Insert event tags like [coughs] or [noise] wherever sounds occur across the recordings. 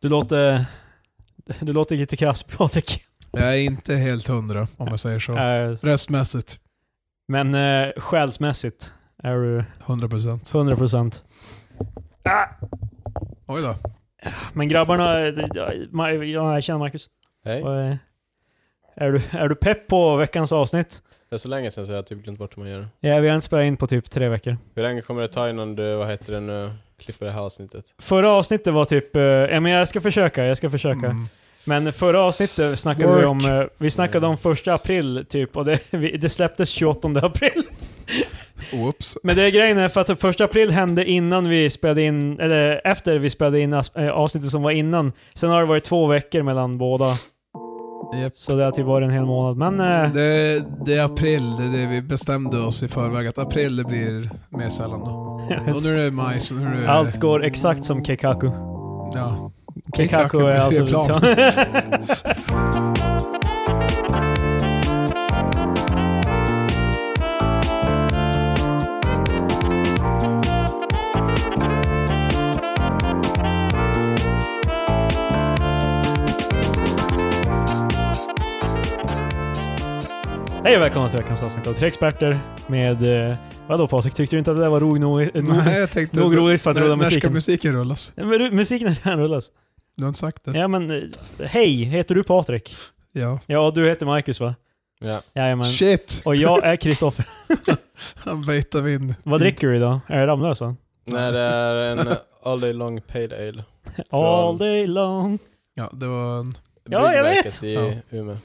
Du låter... Du låter lite krass Patrik. Jag är inte helt hundra om jag säger så. Eh, Röstmässigt, Men eh, själsmässigt är du 100%. 100%. Oj då. Men grabbarna, eh, Ma- jag känner Marcus. Hej. Och, eh, Är du, är du pepp på veckans avsnitt? Det är så länge sedan så jag har typ glömt bort hur man gör. Ja, vi har inte spelat in på typ tre veckor. Hur länge kommer det ta innan du, vad heter det nu, klipper det här avsnittet? Förra avsnittet var typ... eh, Ja, men jag ska försöka, jag ska försöka. Mm. Men förra avsnittet snackade vi Work. om... eh, Vi snackade om första april typ, och det, vi- det släpptes 28 april. Oh, Oops. Men det är grejen är för att den första april hände innan vi spelade in, eller efter vi spelade in as- eh, avsnittet som var innan. Sen har det varit två veckor mellan båda, Japp. så det har typ varit en hel månad. Men eh, Det, det är april, det är det vi bestämde oss i förväg att april det blir mer sällan då. Och nu är det maj så nu är det... eh, [laughs] allt går exakt som Kekaku. Ja. Kekaku Kekaku är blir alltså... plan. Hej och välkomna till veckans avsnitt av Tre Experter med... Eh, vadå Patrik, tyckte du inte att det där var ro nog, eh, nog, Nej, jag tänkte... nog roligt för att rulla när, när ska musiken? musiken rullas? [laughs] Men du, Musiken är redan rullas. Du har inte sagt det? Ja men, eh, hej, heter du Patrik? Ja. Ja, du heter Marcus va? Ja. Jajamän. Shit! Och jag är Kristoffer. [laughs] Han baitar vi in. Vad dricker du idag? Är det Ramlösa? När det är en all day long paid ale. All day long. Mm. Ja, det var en... Ja, jag Bryggverket vet. i Ja. Umeå.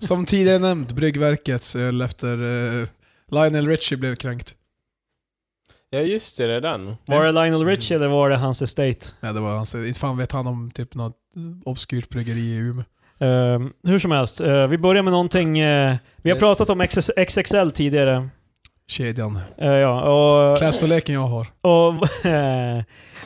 Som tidigare nämnt, Bryggverkets öl efter eh, Lionel Richie blev kränkt. Ja just det, det är den. Var det Lionel Richie eller var det hans estate? Nej, det var hans... Inte fan vet han om typ något eh, obskyrt bryggeri i Umeå. Ehm, hur som helst, eh, vi börjar med någonting. eh, vi har Yes. pratat om XS XXL tidigare. Kedjan. Eh, ja, och, Klasstorleken jag har. och, [laughs]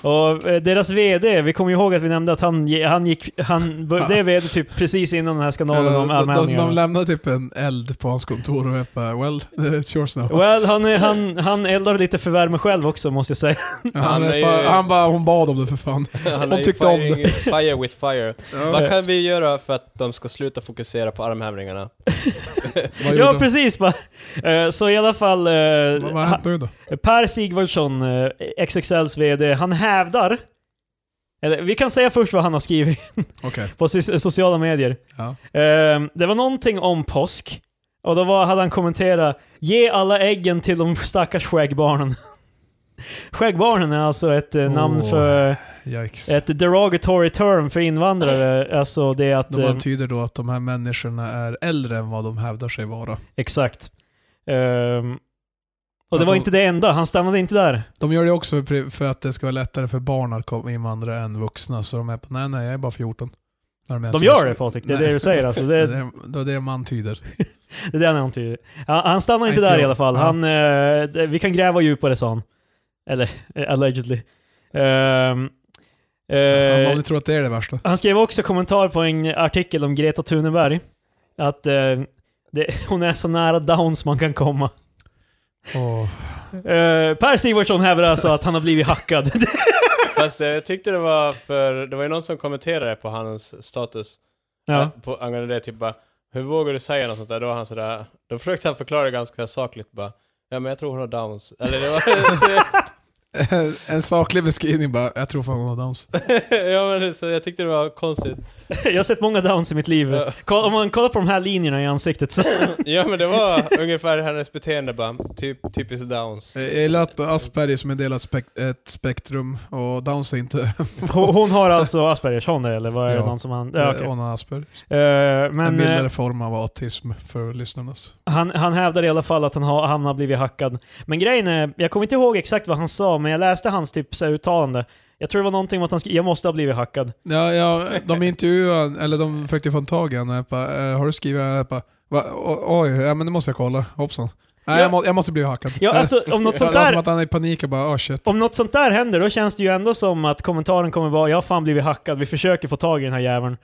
och eh, deras VD, vi kommer ju ihåg att vi nämnde att han, ge- han gick... Han blev VD typ precis innan den här skandalen om Ah. Eh, de, de, de anmälningarna. lämnade typ en eld på hans kontor och jag bara well, [laughs] it's yours now. Well, han, är- han, han eldar lite för värme själv också måste jag säga. han, Han är är ju- bara, han bara, hon bad om det för fan. Han Hon är ju tyckte om firing- [laughs] Fire with fire. Vad Vad kan vi göra för att de ska sluta fokusera på armhävningarna? gjorde ja, hon? precis. [laughs] va. Eh, så i alla fall... eh, Vad har ha- hänt nu då? Per Sigvardsson, eh, XXLs VD, han hävdar... Eller vi kan säga först vad han har skrivit [laughs] Okej. på so- sociala medier. Ja. Eh, Det var någonting om påsk. Och då var, hade han kommenterat “Ge alla äggen till de stackars skäggbarnen”. [laughs] Skäggbarnen är alltså ett eh, namn Åh. för... Yikes. Ett derogatory term för invandrare. Alltså det är att... De eh, antyder då att de här människorna är äldre än vad de hävdar sig vara. Exakt. Ehm, och det Att var de- inte det enda, han stannade inte där. De gör det också för- för att det ska vara lättare för barn att komma invandra än vuxna. Så de är på, nej nej, jag är bara 14. När är De så- gör det Patrik, det är det du säger alltså. Det Det, [laughs] är det, är det de antyder. Det är det han antyder. Han, han stannar inte Inte där jag. i alla fall. Ja. Han, eh, det- vi kan gräva djupare sa han. Eller, eh, allegedly. Ehm, eh, Man tror att det är det värsta. han skrev också kommentar på en artikel om Greta Thunberg. Att eh, det, hon är så nära downs man kan komma. Åh. Eh, per Sigvardsson hävdar alltså att han har blivit hackad. [laughs] Fast eh, jag tyckte det var för, det var ju någon som kommenterade på hans status. ja. Eh, På, angående det, typ bara Hur vågar du säga något sånt där? Då var han sådär, då försökte han förklara ganska sakligt bara Ja men jag tror hon har downs. Eller det var, [laughs] så, [laughs] en saklig beskrivning bara, jag tror fan hon [laughs] har dans. ja, men, det- så jag tyckte det var konstigt. Jag har sett många downs i mitt liv. Ja. Kolla- Om man kollar på de här linjerna i ansiktet så... Ja men det var ungefär hennes beteende bara, typ, typiskt downs. Jag gillar att Asperger som är del av spek- ett spektrum och Downs är inte... Hon hon har alltså Aspergers, hon det, eller vad är det Ja. någon som han... Ja, okej. [laughs] Hon har Asperger. Eh, en men, eh, mildare form av autism för lyssnarnas. Han, han hävdar i alla fall att han har, han har blivit hackad. Men grejen är, jag kommer inte ihåg exakt vad han sa, men jag läste hans typ så här, uttalande. Jag tror det var någonting om att han skri- jag måste ha blivit hackad. Ja, ja, de intervjuade, eller de försökte få tag i honom och jag bara, eh, har du skrivit det här? Jag bara, "Va? O- Oj, ja, men det måste jag kolla. Hoppsan. Nej, Ja. jag, må, jag måste bli hackad. [laughs] Ja, alltså, om, något det var sånt som där, att han är i panik och bara, oh shit. om något sånt där händer, då känns det ju ändå som att kommentaren kommer vara “Jag har fan blivit hackad, vi försöker få tag i den här jäveln”.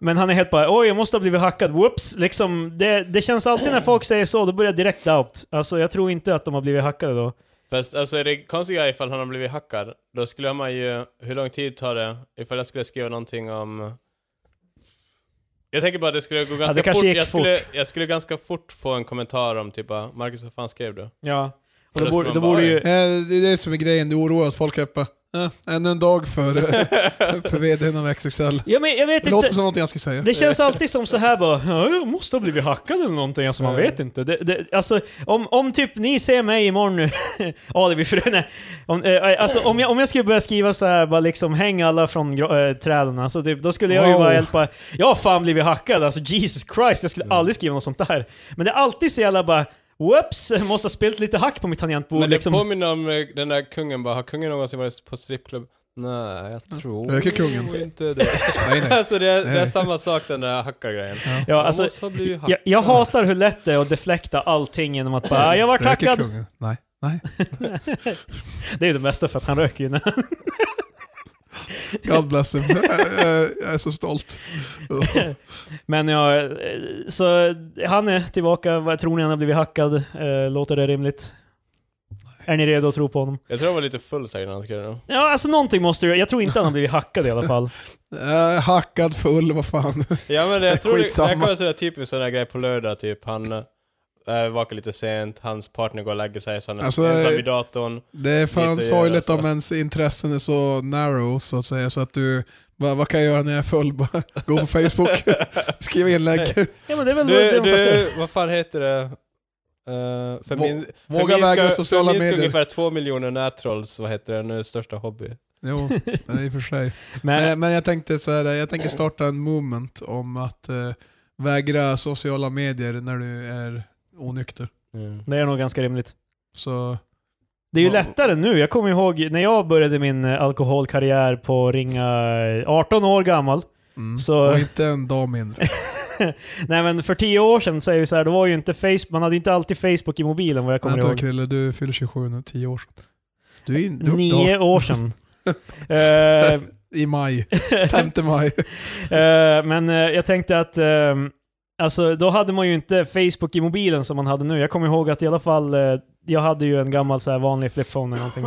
Men han är helt bara “Oj, jag måste ha blivit hackad, whoops”. Liksom, det, det känns alltid när folk säger så, då börjar jag direkt doubt. Alltså jag tror inte att de har blivit hackade då. Fast alltså det konstiga är ifall han har blivit hackad, då skulle man ju, hur lång tid tar det ifall jag skulle skriva någonting om... Jag tänker bara att det skulle gå ganska kanske fort. gick Jag, skulle, jag skulle ganska fort få en kommentar om typ bara, Marcus vad fan skrev du? Ja. Och Då då ska borde, man då bara- borde ju... Eh, Det är det som är grejen, du oroar oss. Folk är bara, eh, ännu en dag för, för vdn av XXL. Ja, men jag vet Det låter inte. som någonting jag skulle säga. Det känns alltid som så här bara, "Ja, jag måste ha blivit hackad eller någonting, alltså man Ja. vet inte. Det, det, alltså, om, om typ ni ser mig imorgon nu, [laughs] alibi-fröne, om, eh, alltså, om, jag, om jag skulle börja skriva så här, bara liksom häng alla från gra- eh, träden, alltså, typ, då skulle jag ju Wow. bara hjälpa, jag har fan blivit hackad, alltså Jesus Christ, jag skulle Mm. aldrig skriva något sånt där. Men det är alltid så jävla bara, whoops, jag måste ha spelat lite hack på mitt tangentbord Men liksom. det påminner om eh, den där kungen bara, har kungen någonsin varit på strippklubb? Nej, jag tror Ökar kungen. inte det. [laughs] Nej, nej. alltså det är, det är Nej. samma sak den där hackargrejen. Ja, Man alltså, måste ha blivit hackad. jag, jag hatar hur lätt det är att deflekta allting genom att bara, "Ah, jag var Röker hackad. kungen? Nej. Nej. Det är det bästa för att han röker ju när God bless him. [laughs] Eh, eh, jag är så stolt. Eh, Men ja, eh, så han är tillbaka. Vad Tror ni han har blivit hackad? Eh, Låter det rimligt? Är ni redo att tro på honom? Jag tror jag var lite full säkert när han skrev det. Ja, alltså någonting måste ju... Jag tror inte han har blivit hackad i alla fall. Eh, hackad, full, vad fan. Ja men det, jag tror det, det Skitsamma. här kommer sådär typiskt sådana grejer på lördag typ. Han äh, vakar lite sent, hans partner går och lägger sig, så han är Alltså, ensam eh, vid datorn. Det är fan Lite att sorgligt göra, om så. ens intressen är så narrow så att säga. Så att du, vad, vad kan jag göra när jag är full? [laughs] Bara gå på Facebook, skriva inlägg. [laughs] Ja, men det är väl det Du, man får säga. du vad fan heter det? Uh, femin, Våga väga sociala feminska medier. ungefär två miljoner nätrolls, vad heter det nu, största hobby. Jo, i och för sig. Men, Eh, Men, men jag tänkte så här, jag tänker starta en movement om att eh, vägra sociala medier när du är onykter. det är nog ganska rimligt. Så, Det är ju Vad- lättare nu. Jag kommer ihåg när jag började min eh, alkoholkarriär på ringa eh, 18 år gammal. mm. Så- Och inte en dag mindre. Nej men för 10 år sedan så är vi så här, då var ju inte Facebook, man hade ju inte alltid Facebook i mobilen vad jag kommer Vänta ihåg. Krille, du fyller 27 nu, 10 år sedan. Du är in- du är upptagen. Nio år [laughs] sedan. Eh, I maj, 5 maj. Eh, men eh, jag tänkte att ehm, Alltså då hade man ju inte Facebook i mobilen som man hade nu. Jag kommer ihåg att i alla fall, eh, jag hade ju en gammal så här vanlig flipphone eller någonting.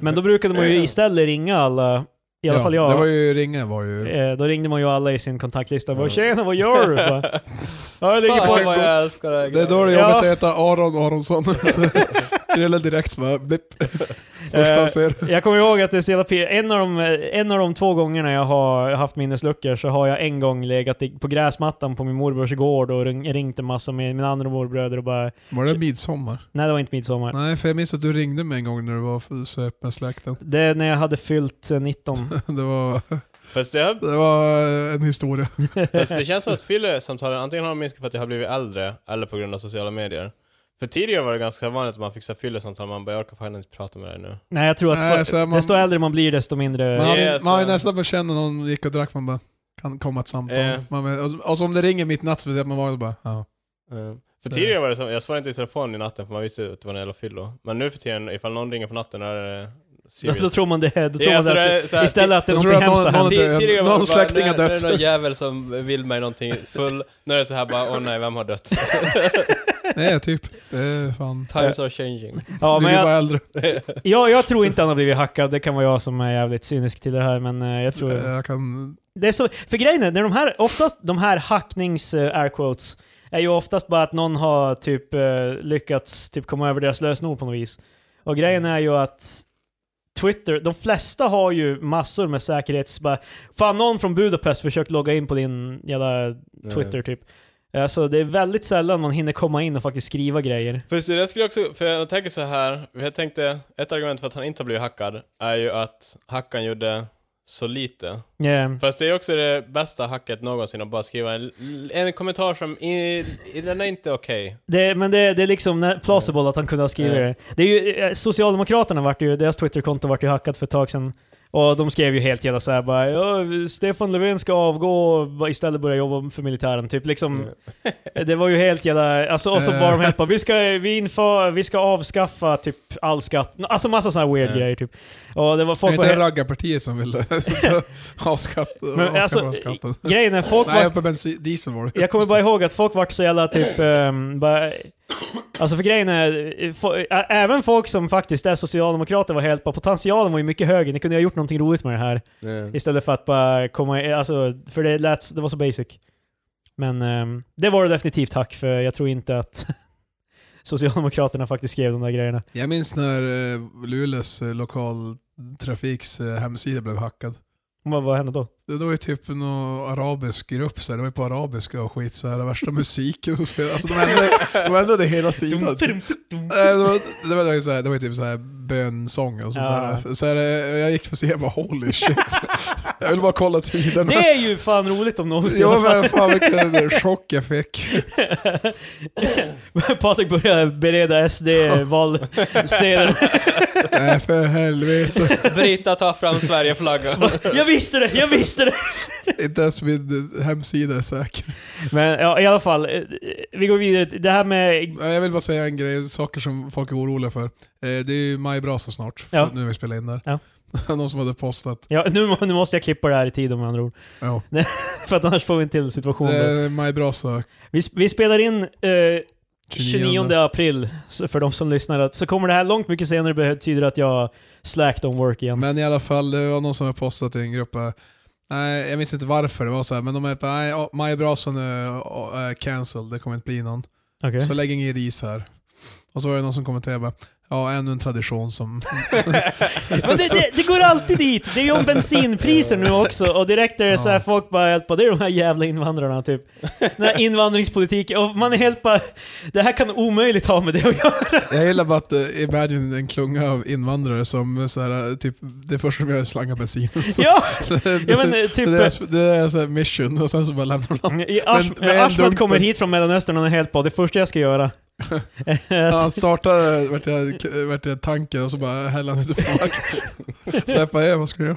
Men då brukade man ju istället ringa alla, [laughs] i alla fall ja, jag. Det var ju ringa var ju. Eh, Då ringde man ju alla i sin kontaktlista och bara Mm. “Tjena, vad gör [laughs] du?” Bara, ja, jag ligger på Fan en vad gång. jag älskar det här Det är då det är Ja. jobbigt att heta Aron [laughs] Aronsson. Så Krille direkt bara blipp. Första Eh, han ser. Jag kommer ihåg att det är så jävla p- en, av de, eh, en av de två gångerna jag har haft minnesluckor så har jag en gång legat i- på gräsmattan på min morbrors gård och ring- ringt en massa med mina andra morbröder och bara Var det midsommar? “Nej, det var inte midsommar”. Nej, för jag minns att du ringde mig en gång när du var söp med släkten. [laughs] Det är när jag hade fyllt eh, 19. Det var, Fast [laughs] det, det var eh, en historia. fast det känns som att fyllesamtalen antingen har de minskat för att jag har blivit äldre, eller på grund av sociala medier. För tidigare var det ganska vanligt att man fick så här fyllesamtal, man bara “jag orkar fan inte prata med dig nu”. Nej, jag tror att Nej, för, så är man- desto äldre man blir desto mindre... Man har ju Yes, eh. man har ju ja. nästan fått känna någon gick och drack, man bara kan komma ett samtal. Eh. Man, bara- och, så- och så om det ringer mitt natt så att man var bara ja. Eh, För tidigare var det så, jag svarade inte i telefon i natten för man visste att det var en jävla fyllo. Men nu för tiden, ifall någon ringer på natten då är det då, [laughs] [laughs] serious. då tror man det. Då tror Ja, man så det, det är att, så här- istället att det är Jag tror någonting att hemskt har någon- hänt. någon- Ti- Tidigare var Någon det bara, släkting när, har när dött." [laughs] det är någon jävel som vill mig någonting full, nu är det så här bara åh nej, vem [laughs] har dött? Nej, typ. Det är fan. Times are changing. Ja, vi men blir jag, bara äldre. jag, jag tror inte han har blivit hackad. Det kan vara jag som är jävligt cynisk till det här, men eh, jag tror... Jag kan... Det är så, för grejen är, när de här, oftast de här hacknings eh, air quotes är ju oftast bara att någon har typ eh, lyckats typ komma över deras lösenord på något vis. Och grejen är ju att Twitter, de flesta har ju massor med säkerhets... Bara, fan, någon från Budapest försökt logga in på din jävla Eh. Twitter typ. Alltså det är väldigt sällan man hinner komma in och faktiskt skriva grejer. För det skulle jag också, för jag tänker så här, jag tänkte, ett argument för att han inte har blivit hackad är ju att hackan gjorde så lite. Yeah. Fast det är också det bästa hacket någonsin att bara skriva en, en kommentar som, i, i, den är inte okej. Det, men det, det är liksom nä- plausible att han kunde ha skrivit Ja. det. det är ju, eh, Socialdemokraterna vart ju, deras Twitterkonto vart ju hackat för ett tag sedan. Och de skrev ju helt jävla såhär bara "Ja, Stefan Löfven ska avgå och bara istället börja jobba för militären typ liksom. Det var ju helt jävla, alltså och så bara de helt bara vi ska, vi inför, vi ska avskaffa typ all skatt. Alltså massa sådana weird Ja. grejer typ. Och det var Är det folk var inte helt, raggarpartiet som vill [laughs] avskatta Men alltså, avskaffa skatten? grejen är folk Nej, var, uppe på bensin, diesel var det. jag kommer bara ihåg att folk vart så jävla typ, ehm, bara, Alltså för grejen är, eh, fo- ä- även folk som faktiskt är socialdemokrater var helt bara, potentialen var ju mycket högre, ni kunde ju ha gjort någonting roligt med det här. [laughs] Istället för att bara komma, eh, alltså, för det lät, det var så basic. Men ehm, det var det definitivt hack, för jag tror inte att [laughs] Socialdemokraterna faktiskt skrev de där grejerna. Jag minns när eh, Luleås eh, lokaltrafiks eh, hemsida blev hackad. Vad, vad hände då? Det var ju typ någon arabisk grupp, så här. det var ju på arabiska och skit så här. Den värsta musiken som spelades. Alltså, de, ändrade, de ändrade hela sidan. Nej, det var, det var ju såhär, det var ju typ såhär bönsång och sådär. Så här, eh, jag gick på scen och bara [laughs] holy shit. jag ville bara kolla tiden. Det är ju fan roligt om [laughs] något i alla Ja fall. men fan vilken chock jag fick. [laughs] Patrik börjar bereda SD-valseden. Nej för helvete. Brita tar fram Sverigeflaggan. [laughs] jag visste det, jag visste det! Inte ens min eh, hemsida är säker. Men ja, i alla fall, eh, vi går vidare till det här med... Nej, Jag vill bara säga en grej, saker som folk är oroliga för. Eh, Det är ju majbrasa snart, för Ja. nu när vi spelar in där. Ja. [laughs] Någon som hade postat. Ja, nu, nu måste jag klippa det här i tid om andra ord. Ja. För att annars får vi en till situation. Det där. är majbrasa Vi, vi spelar in eh, 29 29. april, så för de som lyssnar. att- Så kommer det här långt mycket senare, betyder att jag slacked on work igen. Men i alla fall, det var någon som hade postat i en grupp. eh, Nej, jag minns inte varför det var så här, men de är på nej, oh, majbrasan är oh, eh, cancelled, det kommer inte bli någon. Okej. Så lägg ingen ris här. Och så var det någon som kommenterade bara, ja ännu en [laughs] tradition som... Men det, det, det går alltid dit! Det är ju om bensinpriser nu också, och direkt är det så här Ja. folk bara helt bara, det är de här jävla invandrarna typ. Den här invandringspolitiken, och man är helt bara, det här kan omöjligt ha med det att göra. jag gillar bara att eh, Imagine är en klunga av invandrare som så här, eh, typ, det första de gör är att slanga bensin. [laughs] Så, Ja! det, Ja men eh, typ... [laughs] det är deras, det är deras eh, mission och sen så bara lämnar de landet. I Ash, Men- men Ashmat kommer Dumpen- hit från Mellanöstern och han är helt på det första jag ska göra. [laughs] Han startar eh, vart jag, vart jag tanken och så bara häller han ut på marken. [laughs] Så jag bara, eh, vad ska du göra?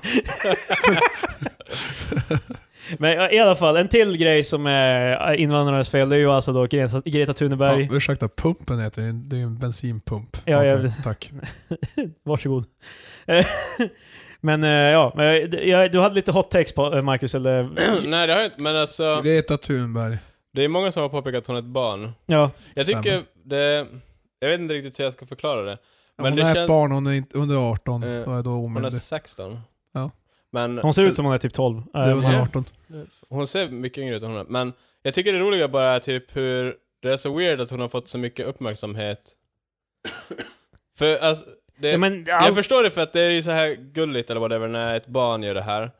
Men i alla fall, en till grej som är eh, invandrarnas fel, det är ju alltså då Greta, Greta Thunberg. Fan, ursäkta, pumpen heter det. Det är ju en bensinpump. Ja, jag Okej, vet. Tack. Varsågod. [laughs] Eh, men eh, ja, men jag- jag- du hade lite hot takes på eh, Marcus, eller? [laughs] Nej, det har jag inte, men alltså... Greta Thunberg. Det är många som har påpekat att hon är ett barn. Ja. Jag Stämmer. tycker det... Jag vet inte riktigt hur jag ska förklara det. Men hon det är känns- ett barn, hon är inte, under 18 Eh, och är då Hon är omyndig. 16. Ja. Men Hon ser ut som hon är typ 12. Du är Eh, under ja. 18. Hon ser mycket yngre ut än hon är. Men jag tycker det roliga bara är typ hur... Det är så weird att hon har fått så mycket [coughs] uppmärksamhet. För alltså... Det, ja, men, Jag all, förstår det för att det är ju så här gulligt eller whatever när ett barn gör det här.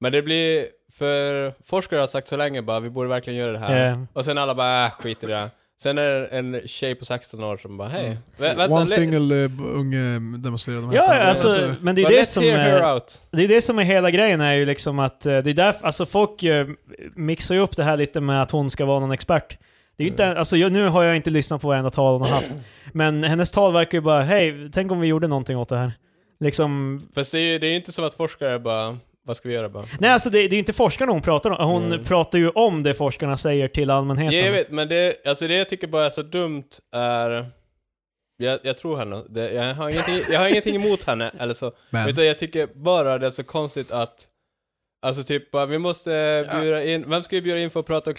Men det blir... För forskare har sagt så länge bara vi borde verkligen göra det här. eh, Och sen alla bara äh, skit i det. här." Sen är det en tjej på 16 år som bara hej. Mm. Vä- vänta, One le- single eh, unge demonstrerade. de här ja, på- alltså, men det är ju det som hear är... her out. Det är det som är hela grejen är ju liksom att eh, det är därför, alltså folk eh, mixar ju upp det här lite med att hon ska vara någon expert. Det är ju Mm. inte, alltså jag, nu har jag inte lyssnat på varenda tal hon har [clears throat] haft, men hennes tal verkar ju bara hej, tänk om vi gjorde någonting åt det här. Liksom, Fast det är ju det är ju inte som att forskare bara, vad ska vi göra bara? nej alltså det, det är ju inte forskarna hon pratar om, hon Mm. pratar ju om det forskarna säger till Ja, allmänheten. jag vet, men det, alltså det jag tycker bara är så dumt är... Jag, jag tror henne. Det, jag, har ingenting, jag har ingenting emot henne, eller så. Men, Utan jag tycker bara det är så konstigt att... Alltså typ bara, vi måste bjuda in... Vem ska vi bjuda in för att prata om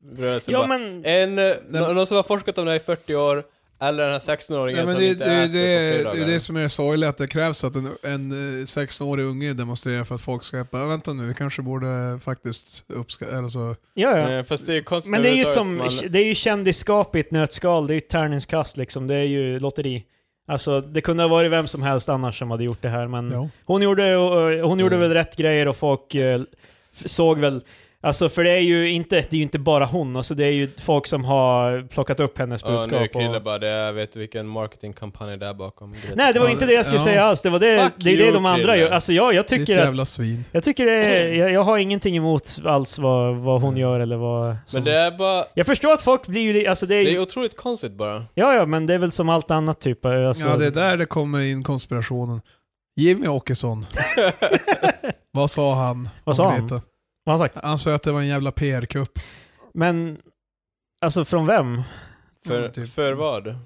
klimatrörelsen? ja Bara, men, En, eh, nå- någon som har forskat om det här i 40 år, eller den här 16-åringen ja, men som det, det, inte det, äter det, på det fredagar. är det som är sorgligt, att det krävs att en, en eh, 16-årig unge demonstrerar för att folk ska bara, vänta nu, vi kanske borde faktiskt uppskatta, eller så. ja, ja. Eh, Fast det är ju konstigt Men det är ju som, överhuvudtaget att man- det är ju kändisskap i ett nötskal, det är ju ett tärningskast liksom, det är ju lotteri. Alltså det kunde ha varit vem som helst annars som hade gjort det här, men Ja. Hon gjorde, eh, hon gjorde Mm. väl rätt grejer och folk eh, f- såg väl... Alltså för det är ju inte, det är ju inte bara hon, alltså det är ju folk som har plockat upp hennes Ja, nu budskap. killar Och... bara det, jag vet vilken marketingkampanj det är bakom. Greta. Nej, det var inte det jag skulle Ja. säga alls. Det var det, Fuck det, är det you, de andra gör. killar. Alltså jag, jag Ditt tycker att... jävla svin. Jag tycker det är, jag, jag har ingenting emot alls vad, vad Mm. hon gör eller vad... Men Som... det är bara, Jag förstår att folk blir ju... li- Alltså det är det är ju... otroligt konstigt bara. Ja, ja, men det är väl som allt annat typ. Alltså... Ja, det är där det kommer in konspirationen. Jimmy Åkesson. Vad sa han? Vad om sa han? Greta? Vad har han sagt? Han sa att det var en jävla PR-kupp. Men... Alltså från vem? [laughs] För, Ja, typ. för vad?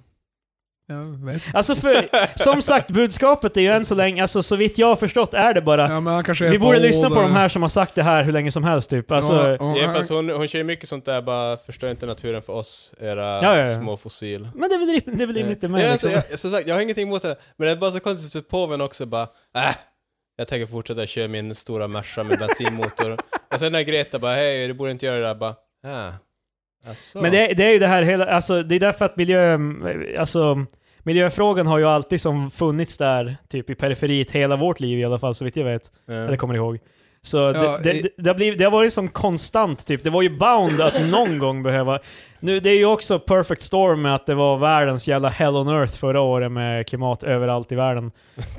Jag vet. Alltså för, som sagt, budskapet är ju än så länge, alltså så vitt jag har förstått är det bara Ja, men han kanske är Vi borde ålder. lyssna på de här som har sagt det här hur länge som helst typ. Alltså, Ja, ja, ja, Ja, fast hon, hon kör ju mycket sånt där bara, förstör inte naturen för oss, era Ja, ja, ja. små fossil. Men det är väl rimligt- det är väl rimligt det med ja, alltså, liksom. jag, som sagt, jag har ingenting emot det, men det är bara så konstigt för påven också bara, äh, jag tänker fortsätta köra min stora Merca med bensinmotor. [laughs] och sen när Greta bara, hej, du borde inte göra det där, bara, äh, asså. Men det, är- det är ju det här hela, alltså det är därför att miljö, alltså miljöfrågan har ju alltid som funnits där typ i periferiet hela vårt liv i alla fall så vitt jag vet. Eller Ja. kommer ihåg. Så Ja, det, i- det, det, har blivit, det har varit som konstant typ. Det var ju bound att någon gång behöva... Nu, det är ju också perfect storm med att det var världens jävla hell on earth förra året med klimat överallt i världen.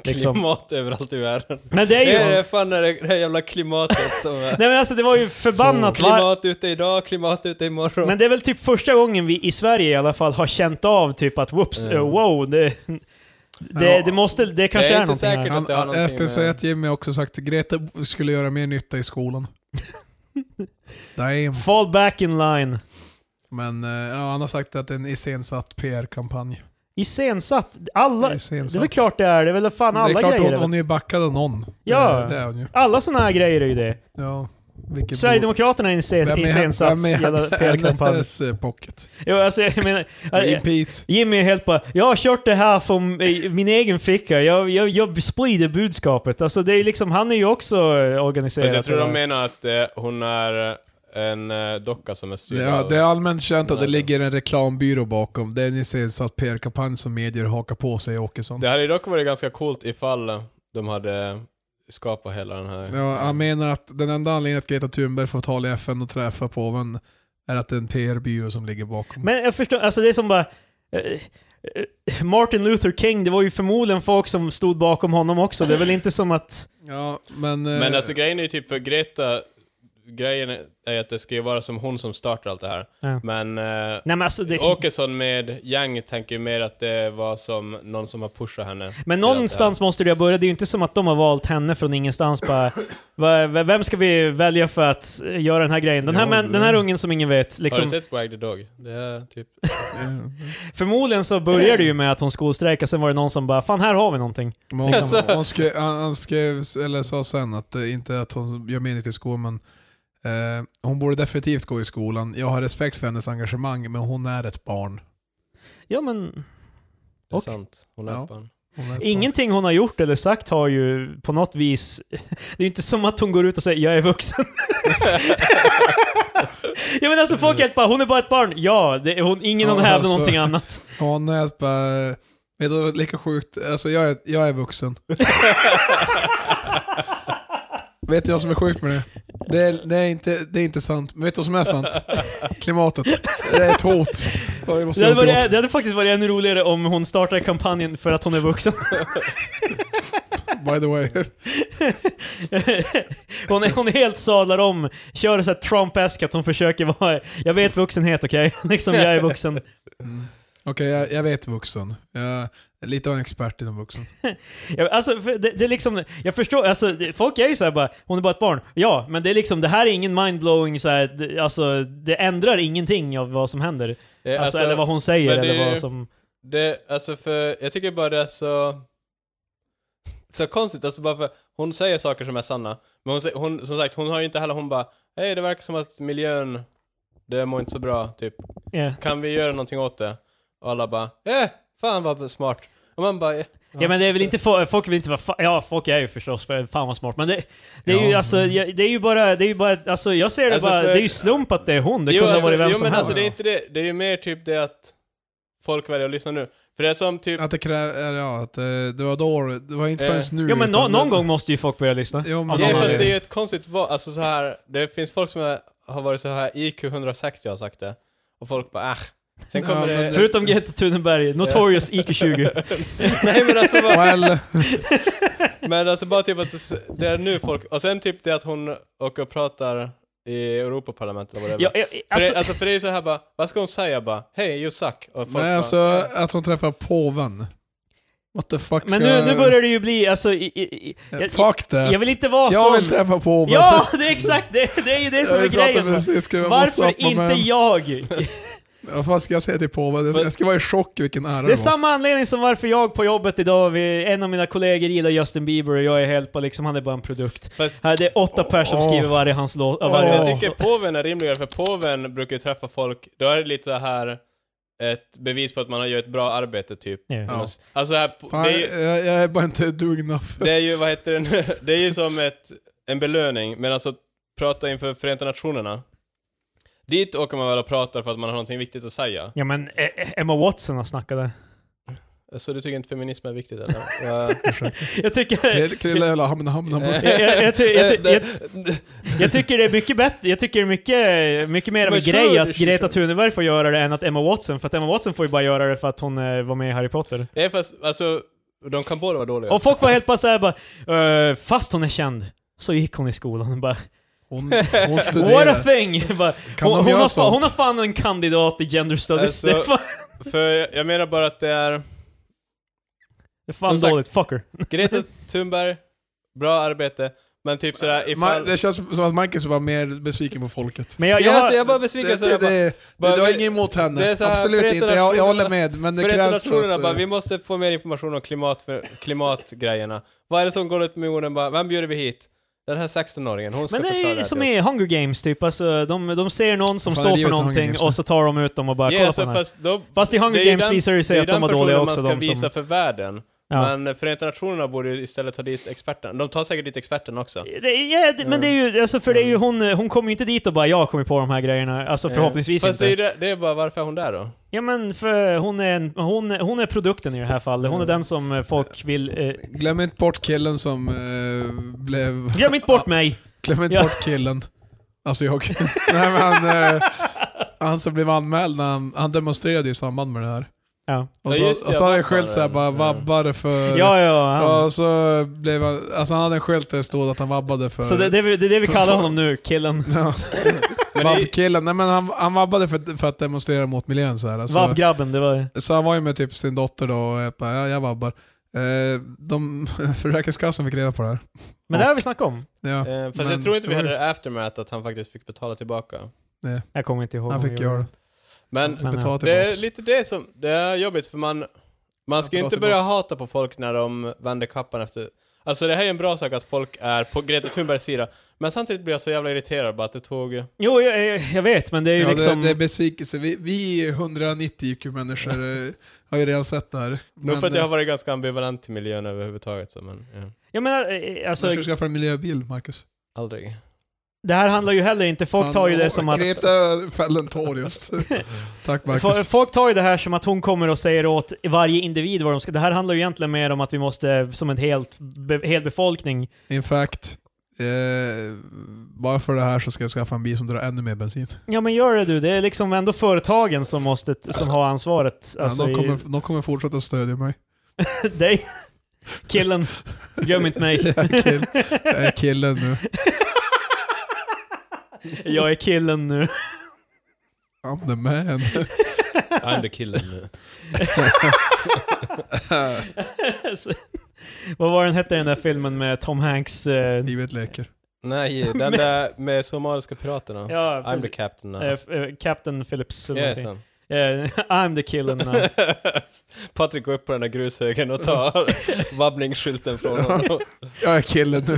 Liksom. Klimat överallt i världen. Men det är ju... Det är fan det, det här jävla klimatet som är... Nej men alltså det var ju förbannat var- Klimat ute idag, klimat ute imorgon. Men det är väl typ första gången vi i Sverige i alla fall har känt av typ att whoops, Mm. eh, wow, det, det, det måste, det kanske Jag är är, inte någonting här. säker. Han, det har någonting jag ska med- säga att Jimmy har också sagt att Greta skulle göra mer nytta [laughs] i skolan. Damn. Fall back in line. Men eh, ja, han har sagt att det är en iscensatt PR-kampanj. Iscensatt. Alla, det är väl Iscensatt. klart det är, det är väl fan alla det är klart grejer. är hon, väl- hon är ju backad av någon. Ja. Det, det är hon ju. Alla sådana här grejer är ju det. Ja. Vilket Sverigedemokraterna är inse- iscensatt hela PR-kampanj. [laughs] hennes eh, pocket? Jo, alltså jag menar... Greenpeace. Jimmy är helt bara, jag har kört det här från eh, min egen ficka, jag, jag, jag sprider budskapet. Alltså det är liksom, han är ju också eh, organiserad. Fast Alltså, jag tror eller? de menar att eh, hon är en eh, docka som är styrd Ja, av- det är allmänt känt att det ligger en reklambyrå bakom. Det är en iscensatt PR-kampanj som medier hakar på, säger Åkesson. Det hade ju dock varit ganska coolt ifall de hade skapat hela den här... Ja, han menar att den enda anledningen att Greta Thunberg får tala i FN och träffa påven är att det är en PR-byrå som ligger bakom. Men jag förstår, alltså det är som bara... eh, eh, Martin Luther King, det var ju förmodligen folk som stod bakom honom också. Det är väl inte som att... ja, men... eh, Men alltså grejen är ju typ för Greta, grejen är att det ska ju vara som hon som startar allt det här. Ja. Men eh, Nej men alltså det, Åkesson med Yang tänker ju mer att det var som någon som har pushat henne. Men någonstans måste det ha börjat. Det är ju inte som att de har valt henne från ingenstans bara... "Va- v- Vem ska vi välja för att eh, göra den här grejen? Den här, Ja, män, den här ja. ungen som ingen vet, Har du liksom. sett Wag the Dog? Det är typ... eh, Förmodligen så började det ju med att hon skolstrejkade, sen var det någon som bara 'Fan, här har vi någonting' men hon, hon skrev, han, han skrev, eller sa sen, att eh, inte att hon gör mening till skolan, men eh, hon borde definitivt gå i skolan. Jag har respekt för hennes engagemang, men hon är ett barn. Ja men... Det är Och- sant. Hon är Ja. fan. Hon är ett Ingenting hon har gjort eller sagt har ju på något vis... [laughs] Det är ju inte som att hon går ut och säger 'Jag är vuxen' [laughs] Jag menar alltså folk är helt bara 'Hon är bara ett barn' Ja, det, hon, ingen Ja, hon hävdar alltså. någonting annat. barn. Hon eh, är ett bara... Vet du, lika sjukt. Alltså jag är, jag [laughs] är vuxen. Vet du vad som är sjukt med det? Det är, det, är inte, det är inte sant. Men vet du vad som är sant? Klimatet. Det är ett hot. Och vi måste Det hade, göra något åt varit, det hade faktiskt varit ännu roligare om hon startade kampanjen för att hon är vuxen. By the way. [laughs] hon, är, hon är helt sadlar om, kör så här Trump-esk att hon försöker vara... Jag vet vuxenhet, okej? [laughs] liksom, jag är vuxen. Okej, jag, jag vet vuxen. Jag är lite av en expert inom vuxen. Jag, alltså, för det, det är liksom... Jag förstår, alltså, det- folk är ju så här bara, hon är bara ett barn. Ja, men det är liksom, det här är ingen mindblowing så här, det, alltså, det ändrar ingenting av vad som händer. Det är Alltså, eller vad hon säger, Eh, men det eller är vad ju- som... Det, alltså för, jag tycker bara det är så... Så konstigt, alltså bara för hon säger saker som är sanna. Men hon, sä- hon som sagt, hon har ju inte heller, hon bara Hej, det verkar som att miljön, det mår inte så bra, typ. Ja. Kan vi göra någonting åt det? Och alla bara Eh, fan vad smart. Och man bara eh. Ja men det är väl inte, fo- folk vill inte vara, fa- ja folk är ju förstås för fan vad smart, men det, det är ju Ja. alltså, jag- det är ju bara, det är ju bara, alltså jag ser det Alltså, bara, för- det är ju slump att det är hon, det kunde alltså, ha varit vem jo, som men helst. alltså det är inte det. Det är ju mer typ det att folk väljer att lyssna nu. För det är som typ... Att det kräver, ja, att det, det var då, det var inte förrän Eh, nu. ja men no, utan- någon gång måste ju folk börja lyssna. Jo, Av men, någon Ja, fast det är anledning. ju ett konstigt val. Alltså så här, det finns folk som är, har varit så här IQ 160 har sagt det. Och folk bara ah. Sen Ja, kommer men det... det- Förutom Greta Thunberg, Notorious IQ20. Nej men [laughs] alltså, bara, [laughs] well, men alltså bara typ att det är nu folk... Och sen typ det att hon åker och pratar i Europaparlamentet eller vad det Ja, är. ja, För alltså, det, alltså för det är ju så här bara, vad ska hon säga bara? Hej, you suck. Och folk nej, bara, alltså att hon träffar påven. What the fuck men ska nu, jag- nu börjar det ju bli, alltså, i, i, i, jag, Fuck that. jag vill inte vara Jag sån. vill träffa påven. [laughs] Ja, Alltså, det är exakt det! Det är ju det som är Vi pratade grejen! precis, ska vi ha Varför WhatsApp, inte men- jag? Vad fan ska jag säga till påven? Jag ska- Jag ska vara i chock vilken ära Det är det var. samma anledning som varför jag på jobbet idag, vi, en av mina kollegor gillar Justin Bieber och jag är helt på liksom, han är bara en produkt. Fast, Här, Det är åtta pers som Åh. skriver varje hans låt. av fast varje jag låt. tycker påven är rimligare, för påven brukar ju träffa folk, då är det lite så här ett bevis på att man har gjort ett bra arbete typ. Ja. Ja. Alltså här, Fan, det är ju, jag, jag är bara inte dugna för... Det är ju, vad heter det nu? [laughs] Det är ju som ett, en belöning, men alltså att prata inför Förenta Nationerna. Dit åker man väl och pratar för att man har någonting viktigt att säga. Ja men eh, Emma Watson har snackat där. Så du tycker inte feminism är viktigt eller? [laughs] Ja. Jag tycker... Krill- Krilla hela hamna hamna på. Jag, jag, jag, ty- jag, ty- jag, jag tycker det är mycket bättre, jag tycker det är mycket, mycket mer av en Men grej kör, att kör, Greta kör. Thunberg får göra det än att Emma Watson, för att Emma Watson får ju bara göra det för att hon eh, var med i Harry Potter. Nej fast, alltså, de kan båda vara dåliga. Och folk var helt bara såhär bara, eh, fast hon är känd, så gick hon i skolan bara, Hon, hon what a studerar. thing! [laughs] Bara, Kan hon, de hon, göra har fan, hon har sånt? fan en kandidat i gender studies. Alltså, det är fan, För jag, jag menar bara att det är det är fan som sagt- dåligt, fucker. Greta Thunberg, bra arbete, men typ sådär Ma- ifall... Det känns som att Marcus var mer besviken på folket. Men jag, jag, jag, alltså, har, jag är bara Det, besviken det, så jag det, det, bara- du har bara- inget emot det henne? är så här, Absolut Förenta inte, jag, jag håller med. Men det Förenta krävs Nationerna bara, eh, vi måste få mer information om klimat för, klimatgrejerna. Vad är det som går ut med orden bara, vem bjuder vi hit? Den här 16-åringen, hon ska men det förklara är ju här som till i oss. Hunger Games typ, alltså, de, de ser någon som Fan, står livet för är Hunger någonting Games, och så tar de ut dem och bara Ja, kolla alltså, på den här. fast då, Fast i det Hunger är ju Games den- visar det det är sig ju att den de var dåliga personen också. man ska De visa som, för världen. ja. Men Förenta Nationerna borde ju istället ta dit experterna. De tar säkert dit experterna också. Det, är- ja, det, men det är ju, alltså, för det är ju hon, hon kommer ju inte dit och bara 'Jag har kommit på de här grejerna' Alltså förhoppningsvis Eh, Fast inte. det är ju det, det är bara, varför är hon där då? Ja men för hon är, en, hon, hon är produkten i det här fallet. Hon är den som eh, folk vill... Eh, Glöm inte bort killen som eh, blev... glöm inte bort mig! Glöm inte Ja. bort killen. Alltså jag. Nej men han, eh, han som blev anmäld, när han, han demonstrerade ju i samband med det här. Ja, Och Ja, så, just det, och så hade han jag skällt såhär fattar bara det. vabbade för... ja, ja han. Och så blev han, alltså han hade en skylt där det stod att han vabbade för... Så det, det, är vi- det är det vi kallar honom nu, killen. Ja. [laughs] Men det- Vabbkillen, nej men han, han vabbade för, för att demonstrera mot miljön så här. Alltså, Vabbgrabben, det var så han var ju med typ sin dotter då och jag bara, ja, jag vabbar. Eh, de, [laughs] Försäkringskassan fick reda på det här. Men det har vi snackat om. Ja, Eh, fast men jag tror inte vi det var hade ju- det aftermath att han faktiskt fick betala tillbaka. Jag kommer inte ihåg. Han om fick vi göra gjorde det. Men Men, Betala Det är tillbaks. lite det som, det är jobbigt för man, man ska ju Ja, inte tillbaks. börja hata på folk när de vänder kappan efter, alltså det här är en bra sak att folk är på Greta Thunbergs sida, men samtidigt blir jag så jävla irriterad bara att det tog, Jo, jag, jag- jag vet, men det är ju Ja, liksom... det, det är besvikelse. Vi, vi 190 [laughs] IQ-människor eh, har ju redan sett det här. eh, nog för att jag har varit ganska ambivalent till miljön överhuvudtaget så men, ja. Jag menar, eh, alltså, alltså, ska skaffa en miljöbil, Marcus. [laughs] aldrig. det här handlar ju heller inte... Folk tar ju det som att... Greta fällde en [laughs] tår just. Tack Marcus. Fo- Folk tar ju det här som att hon kommer och säger åt varje individ vad de ska... Det här handlar ju egentligen mer om att vi måste, som en helt, be, hel befolkning... In fact, eh, bara för det här så ska jag skaffa en bil som drar ännu mer bensin. Ja men gör det du, det är liksom ändå företagen som måste, som har ansvaret. Alltså, ja, de, kommer, i, de kommer fortsätta stödja mig. [laughs] dig. Killen, glöm inte mig. Jag är, kill, jag är killen nu. Jag är killen nu. [laughs] I'm the man. [laughs] I'm the killer nu. Så- Vad var den hette den där filmen med Tom Hanks? eh, Livet leker. Nej, [laughs] den där med somaliska piraterna. ja, I'm the precis. captain now. Eh, f- eh, Captain Phillips eller Yes, någonting. han. Eh, [laughs] I'm the killen now. [laughs] Patrik går upp på den där grushögen [laughs] och tar [laughs] vabbningsskylten från honom. Jag är killen [laughs] nu.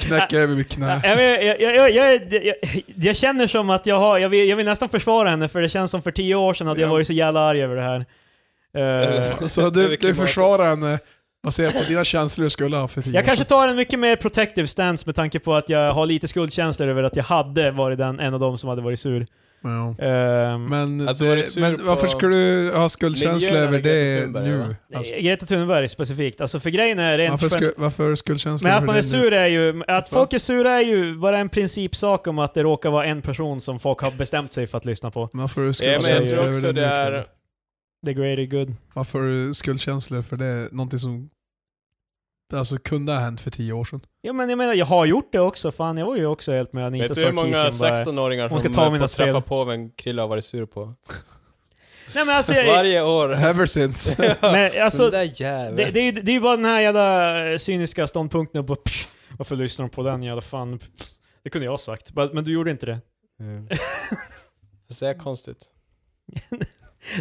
Knäcka över mitt knä. Ja, men jag, jag, jag, jag, jag, jag känner som att jag har, jag vill, jag vill nästan försvara henne för det känns som för tio år sedan hade jag Ja. varit så jävla arg över det här. Eh, Så du, du Överklimat. försvarar henne baserat på dina känslor du skulle ha för tio Jag år kanske sedan. tar en mycket mer protective stance med tanke på att jag har lite skuldkänslor över att jag hade varit den, en av dem som hade varit sur. Ja. Ehm, Men, Mm. Alltså, var du det, sur men på varför skulle du ha miljön skuldkänsla eller över Greta det Thunberg, nu? Alltså, eh, Greta Thunberg specifikt. Alltså för grejen är rent... varför, gen- sku, varför skuldkänsla men att över man är det nu? sur är ju... Att folk är sura är ju bara en principsak om att det råkar vara en person som folk har bestämt sig för att lyssna på. Varför har du Ja, men jag säger skuldkänsla tror över det också nu? det är... The greater good. Varför har du skuldkänslor för det? Någonting som alltså, kunde ha hänt för tio år sedan. Ja men jag menar, jag har gjort det också. Fan, jag var ju också helt med Anita Vet du hur många Sarkeesian bara... Hon 16-åringar som ska ska ta ta mina får spel. träffa påven Krille har varit sur på? Nej men alltså... Jag, Varje år. [laughs] Ever since. [laughs] men, alltså Den där jäveln. Det, det, är ju, det är ju bara den här jävla eh, cyniska ståndpunkten och bara, psh, varför lyssnar de på den jävla fan? Psh, Det kunde jag ha sagt, men men du gjorde inte det. Mm. Fast det är konstigt.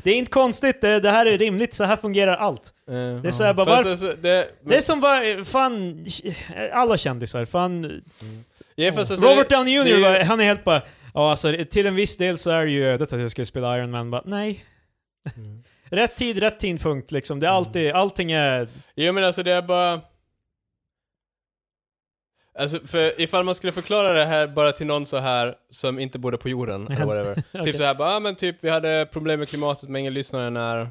Det är inte konstigt, eh, det, det här är rimligt, så här fungerar allt. Eh, Det är så här bara, fast varför? alltså, det, Det är som bara, eh, fan, eh, alla kändisar, fan. ja, fast alltså, Robert det, Downey Jr, det är ju- bara, han är helt bara, ja alltså till en viss del så är det ju ödet att jag skulle spela Iron Man, bara nej. Mm. Rätt tid, rätt tidpunkt liksom. Det är alltid, allting är... Jo men alltså det är bara... Alltså för ifall man skulle förklara det här bara till någon så här som inte bodde [laughs] på jorden eller whatever. Okej. Typ så här bara, ah, men typ vi hade problem med klimatet men ingen lyssnade när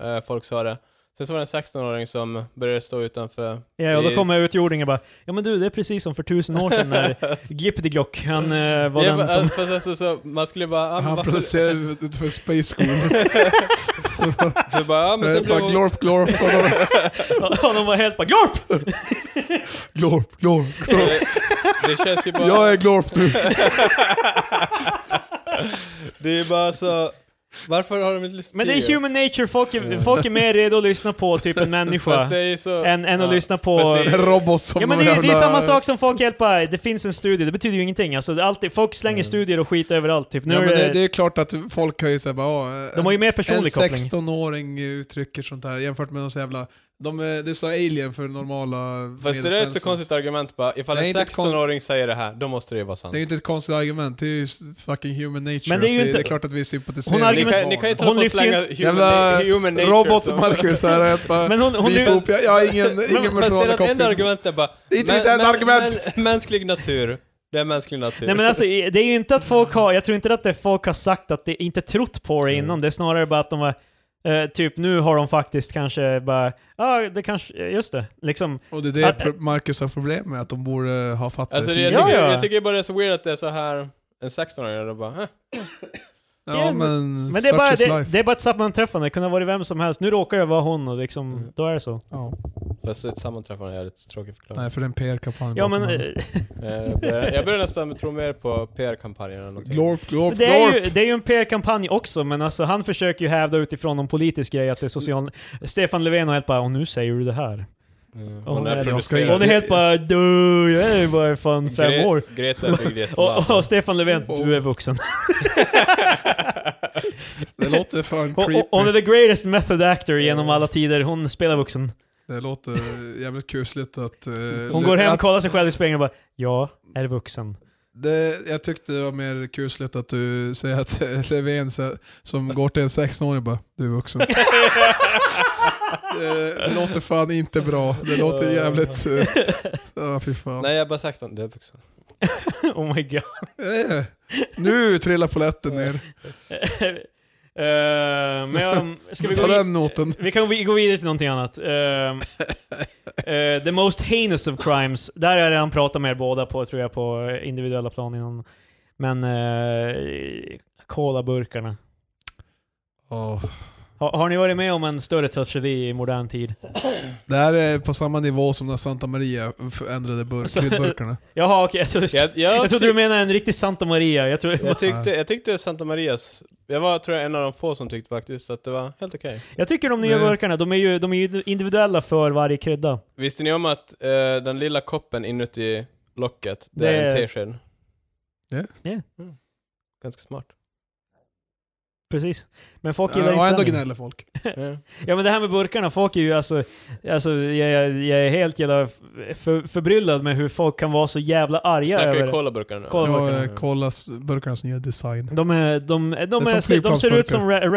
eh, folk sa det. Sen så var det en 16-åring som började stå utanför. Ja, och då i- kommer utomjordingen bara Ja men du, det är precis som för tusen år sedan [laughs] när Gippediglock, han eh, var Ja, den som... fast alltså, så, man skulle bara, ah, men Han varför? producerar utanför Space [laughs] School. Så bara, ah, men Det är sen blev bara hon... glorp, glorp, glorp, och [laughs] de var helt bara GLORP! glorp, [laughs] glorp. Det, det känns ju bara... Jag är glorp [laughs] nu. Det är bara så... Varför har de inte lyssnat Men det är tidigare? human nature, folk är, folk är mer redo att lyssna på typ en Fast människa det är ju så... än, än att ja. lyssna på... Fast det En robot som Ja men det, de är- det är jävla- samma sak som folk hjälper, det finns en studie, det betyder ju ingenting. Alltså, det är alltid, folk slänger Mm. studier och skit överallt typ. Nu Ja, är men det, det- det är klart att folk har ju såhär bara, "Ah, de har ju mer En personlig koppling. 16-åring uttrycker sånt här jämfört med någon så jävla... De, är- det är så alien för normala Fast det är ett så medelsvenssons. konstigt argument bara, ifall Det en är inte ett konst- 16-åring säger det här, då måste det ju vara sant. Det är ju inte ett konstigt argument, det är ju s- fucking human nature. Men det är ju att vi, inte- det är klart att vi sympatiserar Hon med Ni argument- kan, ni kan ju inte Hon hålla på och lyfter ju slänga human, Jävla na- human nature Robot som- Marcus här är ett bara... Men hon, hon, Beep, hon, boop, jag, jag har ingen, ingen Fast det är personlig något enda koppling. argument är bara... Det är inte ett enda argument. Men, mänsklig natur. Det är mänsklig natur. Nej men alltså, i- det är ju inte att folk har, jag tror inte att det folk har sagt att de inte trott på det innan, det är snarare bara att de var eh, typ nu har de faktiskt kanske bara, ja ah, det kanske, eh, just det, liksom. Och det är det Att- pro- Marcus har problem med, att de borde eh, ha fattat Alltså, det, tidigare. jag, Ja, tycker, ja. jag tycker bara det är så weird att det är så här en 16-åring då bara, "Eh, Ja men, Men det är, such bara, is det, life. det är bara ett sammanträffande, det kunde ha varit vem som helst, nu råkar jag vara hon och liksom, Mm. då är det så. Ja. Fast ett sammanträffande är lite tråkig förklaring. Nej för den PR-kampanj Ja men, bakom den. eh, Eh, Jag börjar, jag börjar nästan tro mer på PR-kampanjer eller någonting. Glorp, glorp, eh, det är, ju, glorp! det är ju en PR-kampanj också, men alltså han försöker ju hävda utifrån någon politisk grej att det är social... Stefan Löfven har helt bara, och nu säger du det här. Mm. Hon Hon är- är jag ska producerad. Hon är helt bara, du, jag är ju bara fan fem Gre- år. Greta byggde ett [laughs] Och, labb. och Stefan Löfven, du är vuxen. Det låter fan Hon- creepy. Hon är the greatest method actor genom alla tider, hon spelar vuxen. Det låter jävligt kusligt att... eh, Hon går hem, att kollar sig själv i spegeln och bara Ja, är [laughs] vuxen. det, jag tyckte det var mer kusligt att du säger att eh, Löfven så- som går till en 16-åring bara Du är [laughs] vuxen. det, det låter fan inte bra. Det låter jävligt... eh, [laughs] Ja, fy fan. Nej, jag är bara 16. Du är vuxen. oh my god. [laughs] Eh, nu trillar polletten ner. Eh, men jag, ska vi gå Ta vid- den noten. Vi kan vi- gå vidare till någonting annat. [laughs] Ehm, eh, the most heinous of crimes. Där har jag redan pratat med er båda på, tror jag, på individuella plan innan. Men uh, kolaburkarna. Ja. Har, har ni varit med om en större tragedi i modern tid? Det här är på samma nivå som när Santa Maria f- ändrade bur- Alltså- [laughs] kryddburkarna. Jaha, okej. jag trodde, [laughs] jag, Jag, jag, trodde ty- du menade en riktig Santa Maria. Jag tror, jag, tyckte, jag tyckte Santa Marias... Jag var, tror jag, en av de få som tyckte faktiskt att det var helt okej. Jag tycker de nya Nej. burkarna, de är ju de är ju individuella för varje krydda. Visste ni om att eh, den lilla koppen inuti locket, det, Det- är en tesked? Ja. Ja. Mm. Ganska smart. Precis. Men folk gillar Ja, inte Eh, ändå den. gnäller folk. Ja. Ja men det här med burkarna, folk är ju alltså... alltså jag, jag, jag är helt jävla för, förbryllad med hur folk kan vara så jävla arga Snackar över... vi colaburkar nu? Cola- Jag burkarna. eh, kollar s- burkarnas nya design. De, är, de, de, som är, de, ser ut flygplansburkar. som Re-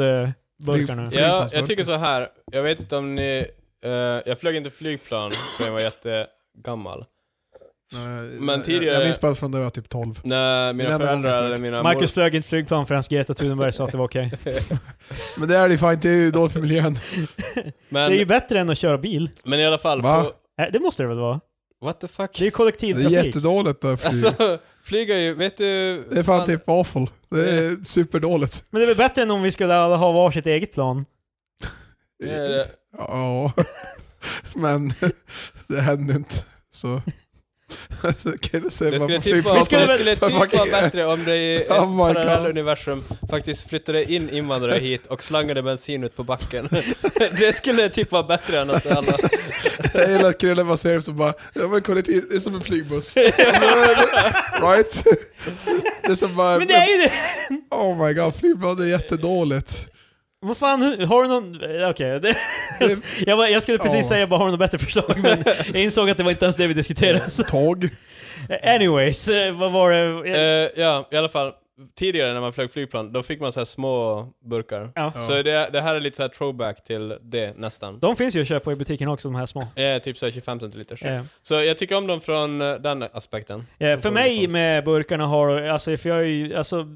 Red eh, Bull-burkarna. Flyg- Ja, Flygplansburkar. jag tycker så här. Jag vet inte om ni... eh, jag flög inte flygplan för jag var jättegammal. Eh, jag- tidigare- Jag minns bara från när jag var typ 12. När Det är mina den enda gången jag föräldrar flög. eller mina mor... Marcus flög inte flygplan förrän Greta Thunberg sa att det var [laughs] okej. Men det är det fan, det är ju dåligt för miljön. Det Men, är ju bättre än att köra bil. men i alla fall, Va? på, Äh, Det måste det väl vara? what the Det fuck? är ju Det är kollektivtrafik. jättedåligt att flyga. Alltså, flyga ju, vet du... Det är fan typ awful. Det är superdåligt. Men det är väl bättre än om vi skulle alla ha varsitt eget plan? det är det. Ja, [laughs] men [laughs] det händer inte. Så... [laughs] Kan du Det säga bara skulle på typ vara, Vi flygplatsen? skulle det väl- skulle Så typ vara fucking- bättre om det i ett Oh my God. parallelluniversum faktiskt flyttade in [laughs] invandrare hit och slangade bensin ut på backen. [laughs] Det skulle typ vara bättre än att [laughs] alla... [laughs] Jag gillar att Krille bara ser det som bara, ja men kolla det är [laughs] som en flygbuss. Alltså, right? Det är som bara, Men det är ju det! Oh my god, flygplan är jättedåligt. Vad fan, hur- har du någon... eh, Okej. det- jag, var- jag skulle precis Ja. säga bara har du något bättre förslag, men jag insåg att det var inte ens det vi diskuterade. Så. Tåg. Anyways, eh, vad var det? Eh, ja, i alla fall. Tidigare när man flög flygplan, då fick man så här små burkar. Ja. Ja. Så det, det här är lite så här throwback till det, nästan. De finns ju att köpa i butiken också, de här små. Eh, typ så här 25 centiliters. Eh, Så jag tycker om dem från eh, den aspekten. eh, för mig med burkarna har, alltså för jag är ju, alltså,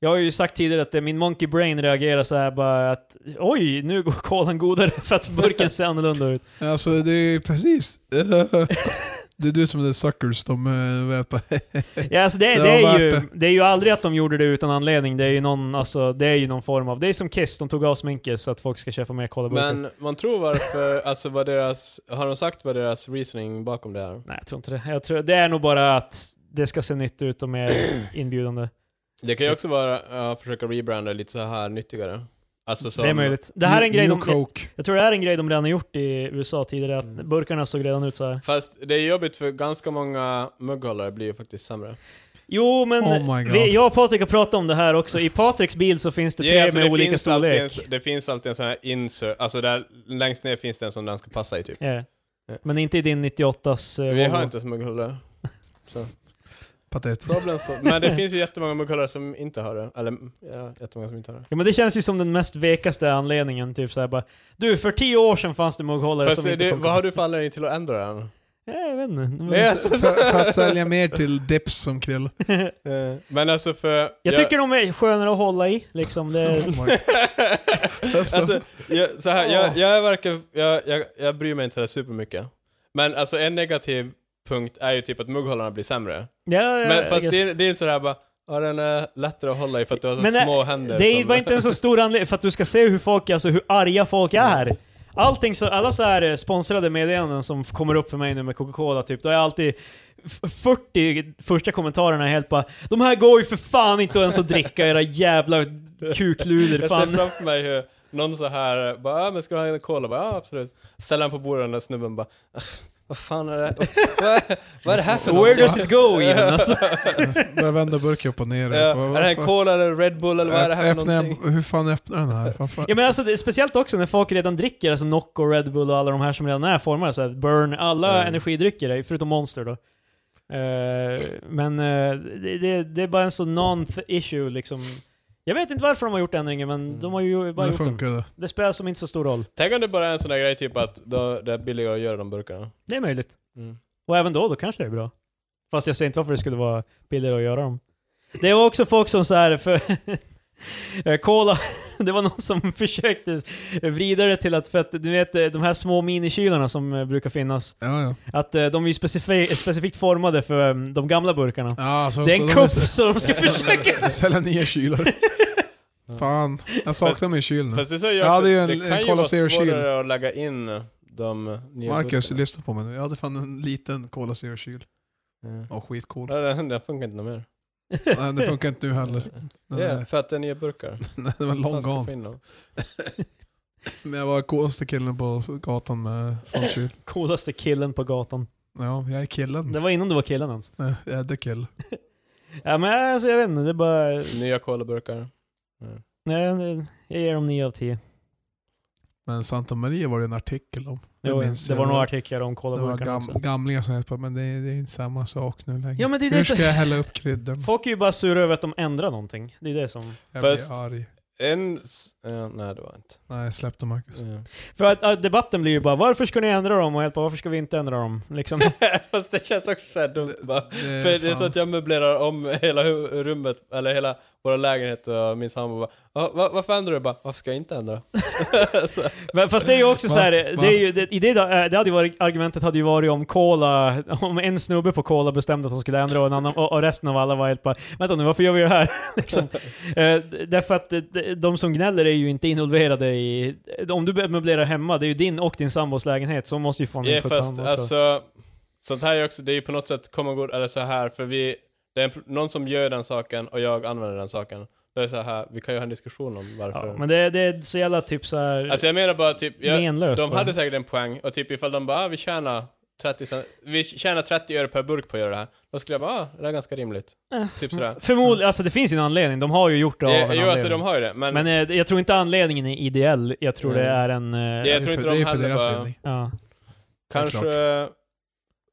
jag har ju sagt tidigare att eh, min monkey brain reagerar så här bara att oj, nu går kolan godare för att burken ser annorlunda ut. Alltså det är precis... eh, det är du som är the suckers, de eh, vet bara... Ja, alltså det, det, Det var är värt ju, det. det är ju aldrig att de gjorde det utan anledning. Det är ju någon, alltså, det är ju någon form av... Det är som Kiss, de tog av sminket så att folk ska köpa mer kolaburkar. Men man [laughs] tror varför, alltså vad deras, har de sagt vad deras reasoning bakom det är? Nej, jag tror inte det. Jag tror, det är nog bara att det ska se nytt ut och [clears throat] mer inbjudande. Det Typ. kan ju också vara att försöka rebranda lite så här nyttigare. Alltså som, det är möjligt. Det här är en grej New de, Coke. jag tror det här är en grej de redan har gjort i USA tidigare, att Mm. burkarna såg redan ut så här. Fast det är jobbigt för ganska många mugghållare blir ju faktiskt sämre. Jo, men Oh my God. vi, jag och Patrik har pratat om det här också. I Patriks bil så finns det tre alltså, med olika finns alltid storlek. en, det finns alltid en sån här insert, alltså där längst ner finns det en som den ska passa i typ. Ja. Ja. Men inte i din 98s eh, Vi Volvo. har inte ens mugghållare. Patetiskt. Problem så. Men det finns ju jättemånga mugghållare som inte har det. Eller ja, jättemånga som inte har det. Ja men det känns ju som den mest vekaste anledningen, typ såhär bara Du, för tio år sedan fanns det mugghållare Fast som inte det, funkar." vad har du för anledning till att ändra den? Ja, jag vet inte. De- Ja. För, [laughs] för att sälja mer till dips som krill. Eh, Men alltså för... Jag tycker de är skönare att hålla i, liksom. Det, Oh my. Alltså. [laughs] alltså, jag, så här, Åh. jag, jag är verkligen, jag, jag, jag bryr mig inte sådär supermycket. Men alltså en negativ punkt är ju typ att mugghållarna blir sämre. ja, ja, Men Eh, jag fast guess. det, är- det är sådär bara, ja den är lättare att hålla i för att du har så Men det- små händer. det som- var inte en så stor anledning, för att du ska se hur folk, alltså hur arga folk är. Allting så, alla så här eh, sponsrade meddelanden som f- kommer upp för mig nu med Coca-Cola typ, då är jag alltid f- 40 första kommentarerna är helt bara De här går ju för fan inte ens att dricka, era jävla [laughs] kukluder Jag fan. ser framför mig hur någon så här bara, ah, men ska du ha en cola? Bara, ja absolut. Ställer den på bordet och den där snubben bara, "Ah, vad fan är det? vad, vad är det här för Where någonting?" does it go even? [laughs] Alltså, Börjar vända burken upp och ner. Ja, är det här en cola eller Red Bull eller vad är det här för öppnar jag, någonting? hur fan öppnar den här? Fan, fan. Ja men alltså det, speciellt också när folk redan dricker, alltså Nocco, Red Bull och alla de här som redan är formade så här, Burn, alla Mm. energidrycker är- förutom Monster då. Eh, men eh, det, det, det är bara en sån non-issue liksom. Jag vet inte varför de har gjort ändringen men de har ju bara Det gjort den. funkade. Det spelar som inte så stor roll. Tänk om det bara är en sån där grej typ att då, det är billigare att göra de burkarna. Det är möjligt. Mm. Och även då, då kanske det är bra. Fast jag ser inte varför det skulle vara billigare att göra dem. Det var också folk som så här för... [laughs] Eh, Cola, [laughs] det var någon som [laughs] försökte vrida det till att, för att du vet eh, de här små minikylarna som eh, brukar finnas, Ja, ja. att eh, de är ju specifi- specifikt formade för eh, de gamla burkarna. ja så, Det är så en de kupp, är- så de ska [laughs] försöka... [laughs] Sälja nya kylar. Fan, jag saknar min kyl nu. Fast det säger jag Mm. Ja, också, det är ju en- det kan en ju Cola vara Zero svårare Shield. att lägga in de nya Marcus, burkarna. lyssna på mig nu. Jag hade fan en liten Cola Zero-kyl. Ja. Ja, skitcool. Ja, den, den funkar inte något mer. Nej, det funkar inte nu heller. Den, Ja, är- för att det är [laughs] nya burkar. nej, den var Fan, long ska gone. få in dem. Men jag var coolaste killen på gatan med sån kyl. Coolaste killen på gatan. Ja, jag är killen. Det var innan du var killen ens. Nej, Jag är the kill. Ja men alltså, jag vet inte, det är bara... Nya colaburkar. Nej, jag ger dem 9 av 10. Men Santa Maria var det en artikel om. Det Jo, minns det jag. var några artiklar om Det var kolaburkarna också. gam, gamlingar som hette på, men det, är- det är inte samma sak nu längre. Ja, men det är Hur det ska som- jag hälla upp kryddan? Folk är ju bara sura över att de ändrar någonting. Det är det som... Jag Fast- blir arg. En... s- Ja, nej, det var inte. Nej, släpp det Marcus. Ja. För att, att debatten blir ju bara varför ska ni ändra dem? Och helt bara varför ska vi inte ändra dem? [laughs] Liksom. Eh. [laughs] Fast det känns också såhär dumt bara. Det, För det är fan. så att jag möblerar om hela hu- rummet, eller hela våra lägenhet och min sambo bara "Ja, va, Varför ändrar du? Jag Bara, varför ska jag inte ändra? så, Men- Fast det är ju också Va? så här, Va? det, är ju, det, i det, eh, det hade ju varit, argumentet hade ju varit om Cola, om en snubbe på Cola bestämde att de skulle ändra och, en annan, och, och resten av alla var helt bara Vänta nu, varför gör vi det här? [laughs] [laughs] liksom. Eh, därför att eh, de- de som gnäller är ju inte involverade i... Om du möblerar hemma, det är ju din och din sambos lägenhet, så måste ju få en Ja input fast hand också. alltså, sånt här är också, det är ju på något sätt common good, eller så här för vi, det är en, någon som gör den saken och jag använder den saken. Det är så här, vi kan ju ha en diskussion om varför. ja, men det, det är så jävla typ så här alltså jag menar bara typ, jag, menlöst. de bara. hade säkert en poäng, och typ ifall de bara, ah, vi tjänar 30 cent, vi tjänar 30 öre per burk på att göra det här. Då skulle jag bara, ah, det är ganska rimligt. Eh, [laughs] Typ sådär. Förmodligen, alltså det finns ju en anledning. De har ju gjort det av en Eh, anledning. jo, alltså de har ju det, men, Men eh, jag tror inte anledningen är ideell. Jag tror det Mm. är en... eh, jag tror för- inte de det är för heller deras bara- vinning. ja. [laughs] kanske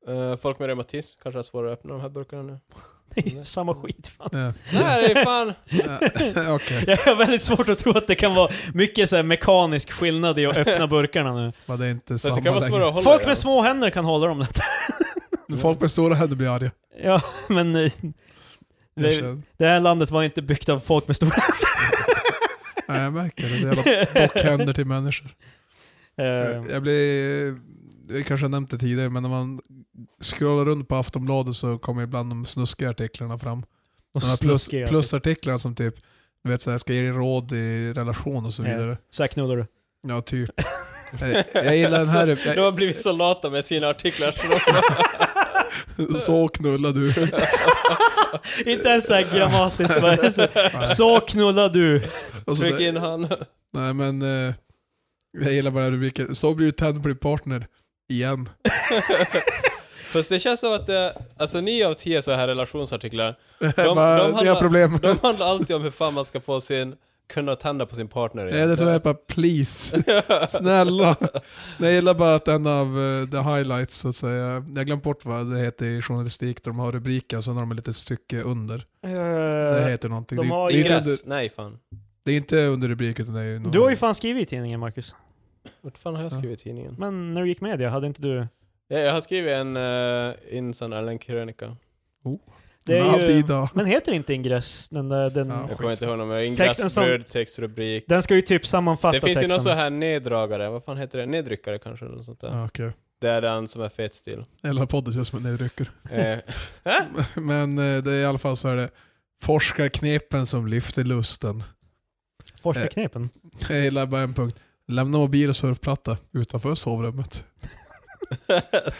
eh, folk med reumatism kanske har svårare att öppna de här burkarna [laughs] nu. Det är ju samma skit fan. Ja. Nej, det är fan... [laughs] Ja, Okej, [laughs] Jag har väldigt svårt att tro att det kan vara mycket så här mekanisk skillnad i att öppna burkarna [laughs] nu. men det är inte Fast samma det kan vara svårare längre. att hålla Folk i med den. små händer kan hålla dem lätt. [laughs] Folk med stora händer blir arga. Ja, men... eh, Jag Det, känner- det här landet var inte byggt av folk med stora Nej, jag märker det. Det är [laughs] jävla dockhänder till människor. Eh, Jag blir, jag kanske har nämnt det tidigare, men när man scrollar runt på Aftonbladet så kommer ibland de snuskiga artiklarna fram. och De här plus, snuskiga. plusartiklarna som typ, du vet såhär, ska ge dig råd i relation och så Ja. vidare. Så här knullar du. [laughs] Ja, typ. Eh, jag gillar den här, De jag, har blivit så lata med sina artiklar så de så knullar du. Inte ens såhär grammatiskt. bara [laughs] så- Så knullar du. [laughs] Och så, trycker säger- in han. nej men, eh, jag gillar bara rubriken, så blir du tänd på din partner. Igen. Fast det känns som att det, alltså nio av tio så här relationsartiklar, De, [laughs] bara, handlar- det är problem. de handlar alltid om hur fan man ska få sin, kunna tända på sin partner [laughs] Det är det som är bara please, [laughs] snälla. Nej, Jag gillar bara att en av eh, the highlights så att säga, jag glömt bort vad det heter i journalistik, där de har rubriken så har de ett litet stycke under. Det Eh, heter någonting. de Det är- har det, är ju inte Gräs? under, Nej fan. det är inte under rubrik utan det är ju någon- Du har ju fan skrivit i tidningen Marcus. Vart fan har jag Ja. skrivit i tidningen? Men när du gick med det, hade inte du... Ja, Jag har skrivit en uh, insändare, eller en krönika. Det Men är ju, Adida. men heter inte ingress den där... Den, Ja. Jag kommer inte ihåg någon, men Texten ingress, som- bröd, textrubrik. den ska ju typ sammanfatta Det finns ju texten. någon så här neddragare, vad fan heter det? Nedryckare kanske, eller något sånt där. Ja, okej. Det är den som är fet stil. Eller podden känns som en nedrycker. Eh, [laughs] [laughs] Men eh, det är i alla fall så är det forskarknepen som lyfter lusten. Forskarknepen. Jag gillar bara en punkt. Lämna mobil och surfplatta utanför sovrummet.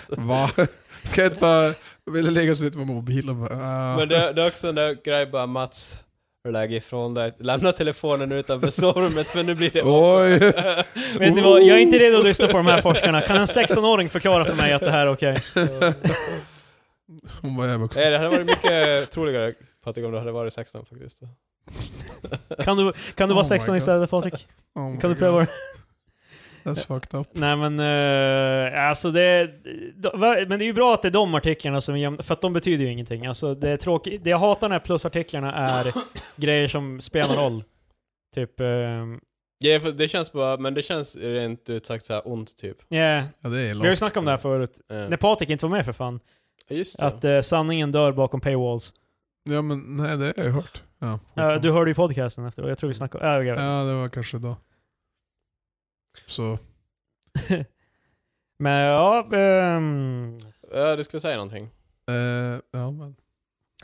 Va? [laughs] Ska jag inte bara vilja lägga sig ut med mobilen? Bara, ah. Men det, det är också en där grej bara Mats, lägg ifrån dig. Lämna telefonen utanför sovrummet för nu blir det... [laughs] [laughs] Oj! Vet ni vad, jag är inte redo att lyssna på de Oh. här forskarna. Kan en 16-åring förklara för mig att det här är okej? Hon var jag också. Eh, Nej, Eh, det hade varit mycket troligare Patrik om du hade varit 16 faktiskt. Kan du, kan du vara Oh my 16 God. istället Patrik? Oh my Kan du God. pröva det? That's fucked up. Nej men, eh, alltså det... de- va- Men det är ju bra att det är de artiklarna som är jämna, för att de betyder ju ingenting. Alltså det är tråkigt, det jag hatar när plusartiklarna är grejer som spelar roll. Typ, ehm, Ja, för det känns bara, men det känns rent ut sagt så här ont typ. yeah. Ja, det är vi har ju långt. snackat om det här förut. Eh, När Patrik inte var med för fan. Ja, just det. Att eh, sanningen dör bakom paywalls. Ja, men nej, det har jag hört. Ja, Eh, skitsamma. du hörde ju podcasten efter och jag tror vi snackade... Äh, jag- ja, det var kanske då. Så, Men ja, ehm, Ja, du skulle säga någonting. eh, ja men.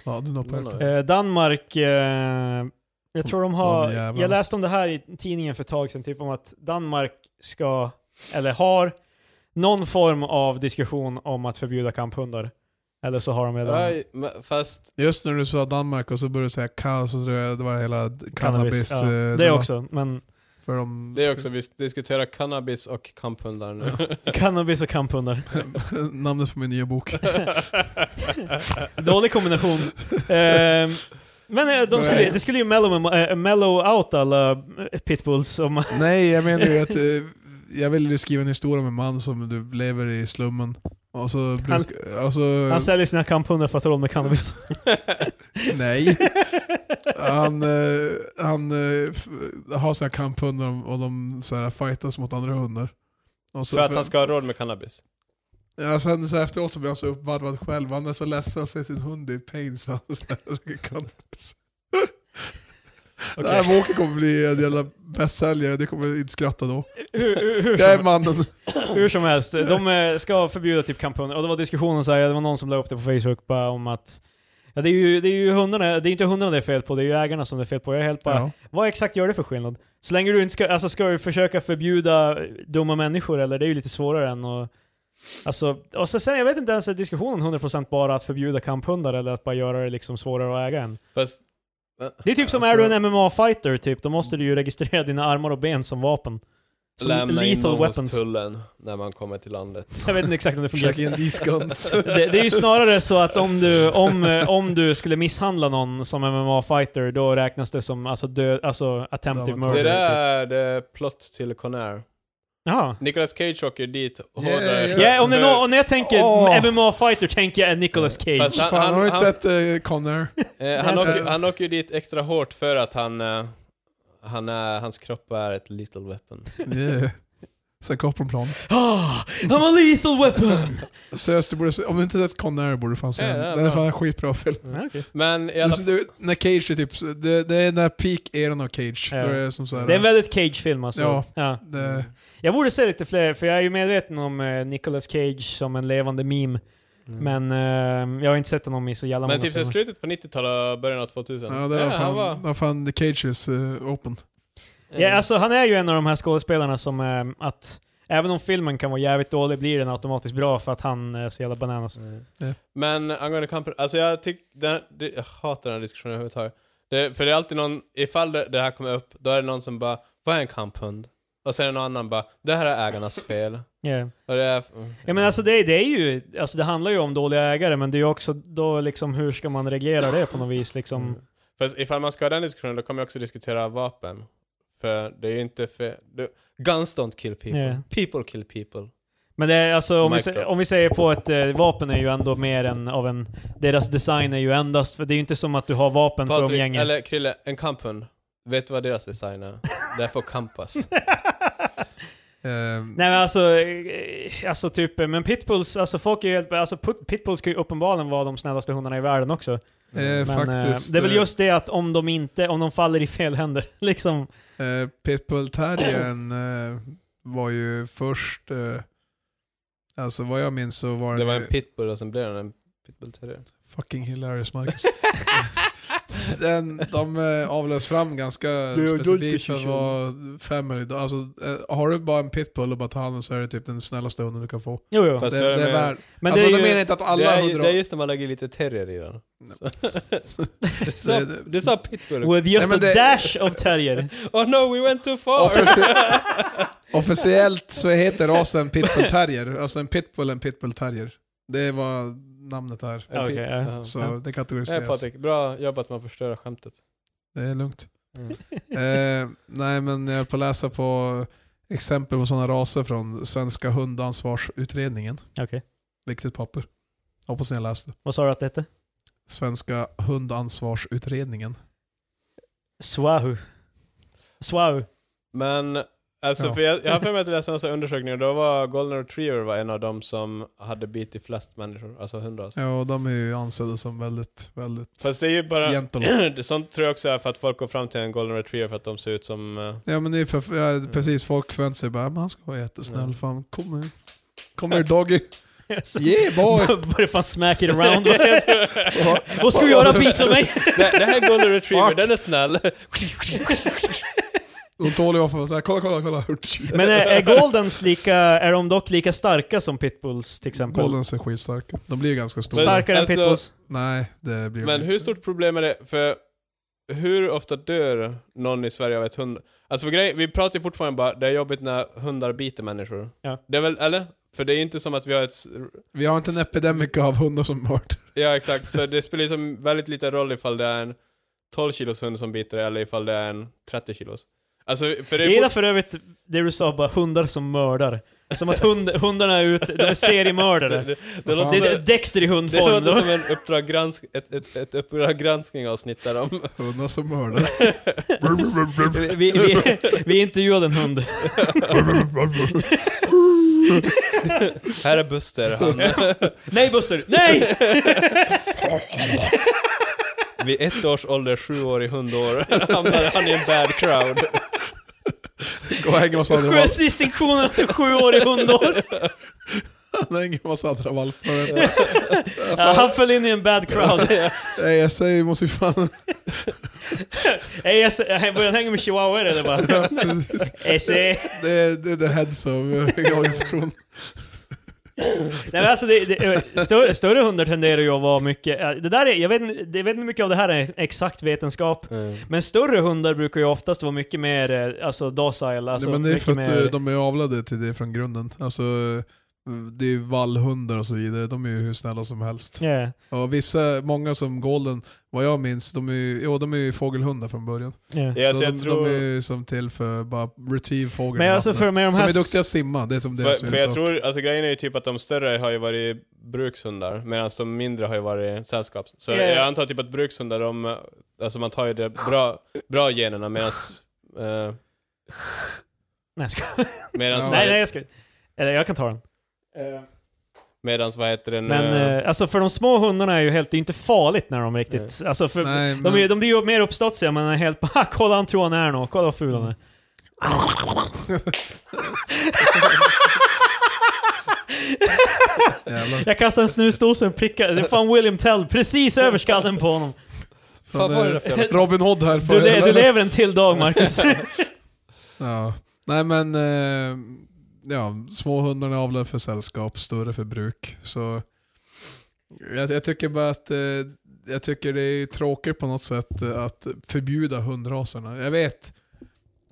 Ja, du något på Någon av det. er. eh, Danmark, eh, jag tror de har, De jävlarna. jag läste om det här i tidningen för ett tag sedan, typ om att Danmark ska, eller har, någon form av diskussion om att förbjuda kamphundar. Eller så har de redan. Ja, men fast, Just när du sa Danmark och så började du säga kaos och så tror jag det var hela cannabis. ja. eh, Det var också, [laughs] men För de, det är också, vi diskuterar cannabis och kamphundar [laughs] nu. cannabis och kamphundar. [laughs] [laughs] namnet på min nya bok. [laughs] Dålig kombination. Ehm, men eh, de skulle, det skulle ju mellow, eh, mellow out alla eh, pitbulls om [laughs] Nej, jag menar ju att eh, jag ville ju skriva en historia om en man som du lever i slummen. Och så bruk, och så, han säljer sina kamphundar för att ha råd med cannabis. Nej. Han, eh, han eh, f- har sina kamphundar och de- och de så här, fightas mot andra hundar. Och så, för att han ska ha råd med cannabis. ja, sen så här efteråt så blir han så uppvarvad själv. Han är så ledsen att se sin hund i pain så han så här, [laughs] kan... Den här boken kommer bli en jävla bästsäljare, du kommer inte skratta då. Hur, hur, hur, Jag är som, mannen. hur som helst, de eh, ska förbjuda typ kamphundar. Och det var diskussionen så här, det var någon som la upp det på Facebook bara om att Ja, det, är ju, det är ju hundarna, det är inte hundarna det är fel på, det är ju ägarna som det är fel på. Jag är helt bara, Ja. vad exakt gör det för skillnad? Så länge du inte ska, alltså ska du försöka förbjuda dumma människor eller? Det är ju lite svårare än att... Alltså, och så sen, jag vet inte ens är diskussionen 100% bara att förbjuda kamphundar eller att bara göra det liksom svårare att äga en. Fast, Det är typ som Alltså- är du en MMA-fighter typ, då måste du ju registrera dina armar och ben som vapen. Som lämna in lethal dem hos weapons. tullen när man kommer till landet. Jag vet inte exakt om det fungerar. Check in these guns. Det, det är ju snarare så att om du, om, eh, om du skulle misshandla någon som MMA-fighter, då räknas det som alltså, dö, alltså attempted Ja, men murder. Det där typ. är det plott till Conair. Jaha. Nicolas Cage åker dit Yeah, hårdare. yeah. Ja, om, det är nå- om jag tänker Åh. MMA-fighter tänker jag Nicolas Cage. Fast han- Fan, har du inte han- sett eh, [laughs] Connor? Eh, han, Alltså- åker, han åker ju dit extra hårt för att han, eh, han är, hans kropp är ett little weapon. Yeah. Sen Copron Plant. Ah, I'm a lethal weapon! Seriöst, du borde se- Alltså, om du inte sett Connor borde du fan se Ja, den. ja, Den är bra. fan en skitbra film. Ja, okej. Men i Du, alla ser- du, när Cage är typ, det, det är när peak-eran av Cage. Ja. Då är det som såhär... Det är en väldigt Cage-film alltså. Ja. Ja. det, Jag borde se lite fler, för jag är ju medveten om eh, Nicolas Cage som en levande meme. Men eh, jag har inte sett honom i så jävla men många typ så filmer. här slutet på 90-talet och början av 2000. ja, det var fan, han var... var fan the Cage is eh, open. Ja, alltså, han är ju en av de här skådespelarna som eh, att Även om filmen kan vara jävligt dålig blir den automatiskt bra för att han är så jävla bananas. Men angående kampen, alltså jag tycker, jag hatar den här diskussionen överhuvudtaget. Det, för det är alltid någon, ifall det, det här kommer upp, då är det någon som bara Vad är en kamphund? Och sen är det någon annan bara Det här är ägarnas fel. Yeah. Och det är... mm. Ja, men alltså det, det är ju, alltså det handlar ju om dåliga ägare men det är ju också då liksom hur ska man reglera det på något vis liksom. Fast ifall man ska ha den diskussionen, då kommer jag också diskutera vapen. För det är ju inte fel. det- Guns don't kill people. Ja. People kill people. Men det är, alltså, om, vi, Mic sä- drop. om vi säger på ett eh, vapen är ju ändå mer än av en... Deras design är ju endast, för det är ju inte som att du har vapen för Patrik, umgänge. eller Krille, en kamphund. Vet du vad deras design är? Det är [laughs] för kampas. Ehm, [laughs] Nej men alltså, eh, alltså typ, eh, men pitbulls, alltså folk är ju helt, alltså put- pitbulls ska ju uppenbarligen vara de snällaste hundarna i världen också. eh, Men faktiskt, eh, det är väl eh, just det att om de inte, om de faller i fel händer, [laughs] liksom. Eh, Pitbull Terriern eh, var ju först, eh, alltså vad jag minns så var den Det var ju- en pitbull och sen blev den en pitbull terrier. fucking hilarious Marcus. [laughs] den, de eh, avlös fram ganska Det är specifikt för att adult vara family. Alltså, eh, har du bara en pitbull och bara tar hand om så är det typ den snällaste hunden du kan få. Jo, jo. Fast Det, så är det det är med- värd. men alltså det de är menar ju, inte att det, alla är, ju- hundra... det är just när man lägger lite terrier i den. [laughs] Du sa, Det- du sa pitbull. with just Nej, men a det- dash of terrier. [laughs] Oh no, we went too far! [laughs] Officie- officiellt så heter rasen pitbull terrier. Alltså en pitbull är en pitbull terrier. Det var namnet här. Ja, okej, ja. Ja. Så det Nej kategoriseras. Patrik, bra jobbat med att förstöra skämtet. Det är lugnt. Mm. [laughs] Eh, nej men jag höll på att läsa på exempel på sådana raser från Svenska hundansvarsutredningen. Okej. Viktigt papper. Hoppas ni har läst det. Vad sa du att det hette? Svenska hundansvarsutredningen. Swahu. [laughs] Swahu. Men, alltså Ja. för jag, jag har för mig att jag läste en sån här undersökning och då var Golden Retriever var en av de som hade bitit flest människor, alltså hundar. Alltså. Ja, och de är ju ansedda som väldigt, väldigt Fast det är ju bara, gentle. [clears throat] sånt tror jag också är för att folk går fram till en Golden Retriever för att de ser ut som... eh, Ja men det är för, ja, precis, folk förväntar sig bara men han ska vara jättesnäll, fan kom nu. Kom [laughs] nu doggy. Yeah boy! Börjar fan smack it around. [laughs] Vad ska du göra? Bita mig? [laughs] det, det här är [laughs] Golden Retriever, Fuck. den är snäll! [laughs] De tål ju ofta såhär, kolla kolla kolla. Men eh, är, är Goldens lika, är de dock lika starka som pitbulls till exempel? Goldens är skitstarka. De blir ju ganska stora. Starkare Alltså- än pitbulls? Nej, det blir de Men inte. hur stort problem är det? För hur ofta dör någon i Sverige av ett hund? Alltså för grej, vi pratar ju fortfarande bara, det är jobbigt när hundar biter människor. Ja. Det är väl, eller? För det är ju inte som att vi har ett... s- Vi har inte en epidemic av hundar som mörd. Ja, exakt. Så det spelar ju som väldigt liten roll ifall det är en 12 kilos hund som biter eller ifall det är en 30 kilos. Alltså, för det Jag är gillar fort... för övrigt det du sa, bara hundar som mördar. Som att hund, hundarna är ute, de är seriemördare. [laughs] Det, Det, det, det låter, det är som, Dexter i det hundform. låter då. som en uppdrag gransk, ett, ett, ett uppdrag granskning avsnitt där de... Hundar som [laughs] mördar. Vi, vi, vi intervjuade en hund. Här är Buster, han... Nej Buster! [laughs] Nej! Vid ett års ålder, sju år i hundår, [laughs] hamnade han i en bad crowd. Gå och häng med oss andra valpar. Sköt distinktionen också, sju år i hundår. Häng med oss andra valpar. Ja, han föll in i en bad [laughs] crowd. Nej, jag säger vi måste ju fan... [laughs] Hey, jag s- jag började hänga med chihuahuor eller vad? Precis. Esse. det, är, det är the heads of eh, organisation. Nej, men alltså det, det, större, större hundar tenderar ju att vara mycket... eh, Det där är, jag, vet, inte- jag vet inte hur mycket av det här är exakt vetenskap, Eh, men större hundar brukar ju oftast vara mycket mer eh, alltså, docile. Alltså, Nej, men det är mycket för att mer, eh, de är avlade till det från grunden. Alltså, eh, det är ju vallhundar och så vidare, de är ju hur snälla som helst. Ja. Och vissa, många som golden, vad jag minns, de är ju, jo, de är ju fågelhundar från början. ja. Ja, så så jag de, tror- de är ju som till för bara retrieve fågeln Men i alltså, vattnet. för med de Som här är duktiga att simma, det är som deras För, för jag huvudsak. tror, alltså grejen är ju typ att de större har ju varit brukshundar, medan de mindre har ju varit sällskaps. Så Ja, ja. jag antar typ att brukshundar, de, eh, alltså man tar ju de bra, bra generna medan... Eh, Nej, jag skojar. medans, Ja. nej, vad, nej, nej, jag ska... Eller jag kan ta den. Eh, medans vad heter den? Men eh, eh, alltså för de små hundarna är ju helt, det är inte farligt när de riktigt... Alltså för, Nej, de, är, men- de blir ju mer uppståtsiga, men är helt bara [laughs] “kolla han tror han är något, kolla vad ful han är”. Jävlar. Jag kastade en snusdosa och prickade, det är fan William Tell precis över skallen på honom. Fan, vad är det för jävla- Robin Hood här. på Du, le, [laughs] hela- du lever en till dag Marcus. Ja. Nej men, eh, ja, små hundarna är avlade för sällskap, större för bruk. Så jag, jag tycker bara att eh, jag tycker det är tråkigt på något sätt eh, att förbjuda hundraserna. Jag vet,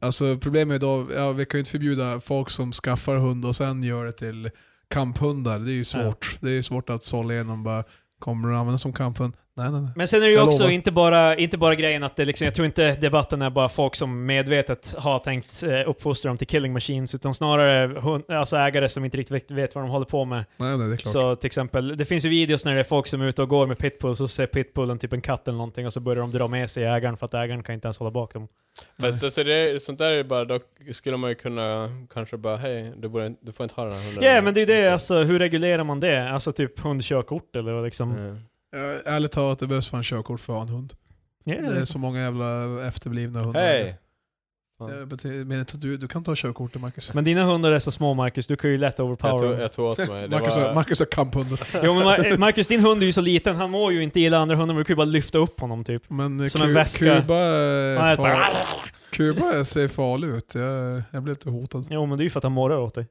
alltså problemet idag, ja, vi kan ju inte förbjuda folk som skaffar hund och sen gör det till kamphundar. Det är ju svårt. Det är ju svårt att sålla igenom bara, kommer du använda som kamphund? Nej nej nej. [laughs] Men sen är det ju Jag också lovar. inte bara, inte bara grejen att det liksom, jag tror inte debatten är bara folk som medvetet har tänkt eh, uppfostra dem till killing machines, utan snarare hund, alltså ägare som inte riktigt vet- vet vad de håller på med. Nej nej det är klart. Så till exempel, det finns ju videos när det är folk som är ute och går med pitbulls och så ser pitbullen typ en katt eller någonting och så börjar de dra med sig ägaren för att ägaren kan inte ens hålla bak dem. Fast alltså det, sånt där är bara, då skulle man ju kunna kanske bara hej, du, borde, du får inte ha den här hunden. Liksom. Ja, men det är ju det, alltså hur regulerar man det? Alltså typ hundkörkort eller liksom... Mm. Ja, Ärligt talat, det behövs fan körkort för att ha en hund. Ja, Det [laughs] är så många jävla efterblivna hundar. Hej! Det betyder- Men jag tror du, du kan ta körkortet Marcus. [laughs] Men dina hundar är så små Marcus, du kan ju lätt Jag overpower tog, dem. jag tog åt mig. Det Marcus, har, var, Marcus har kamphundar. Jo men Mar- Marcus, din hund är ju så liten, han mår ju inte illa andra hundar, men du kan ju bara lyfta upp honom typ. Men eh, Som en Ku- väska. Kuba, Han är är bara- far... Kuba ser farlig ut. Jag, jag blir lite hotad. Jo men det är ju för att han morrar åt dig.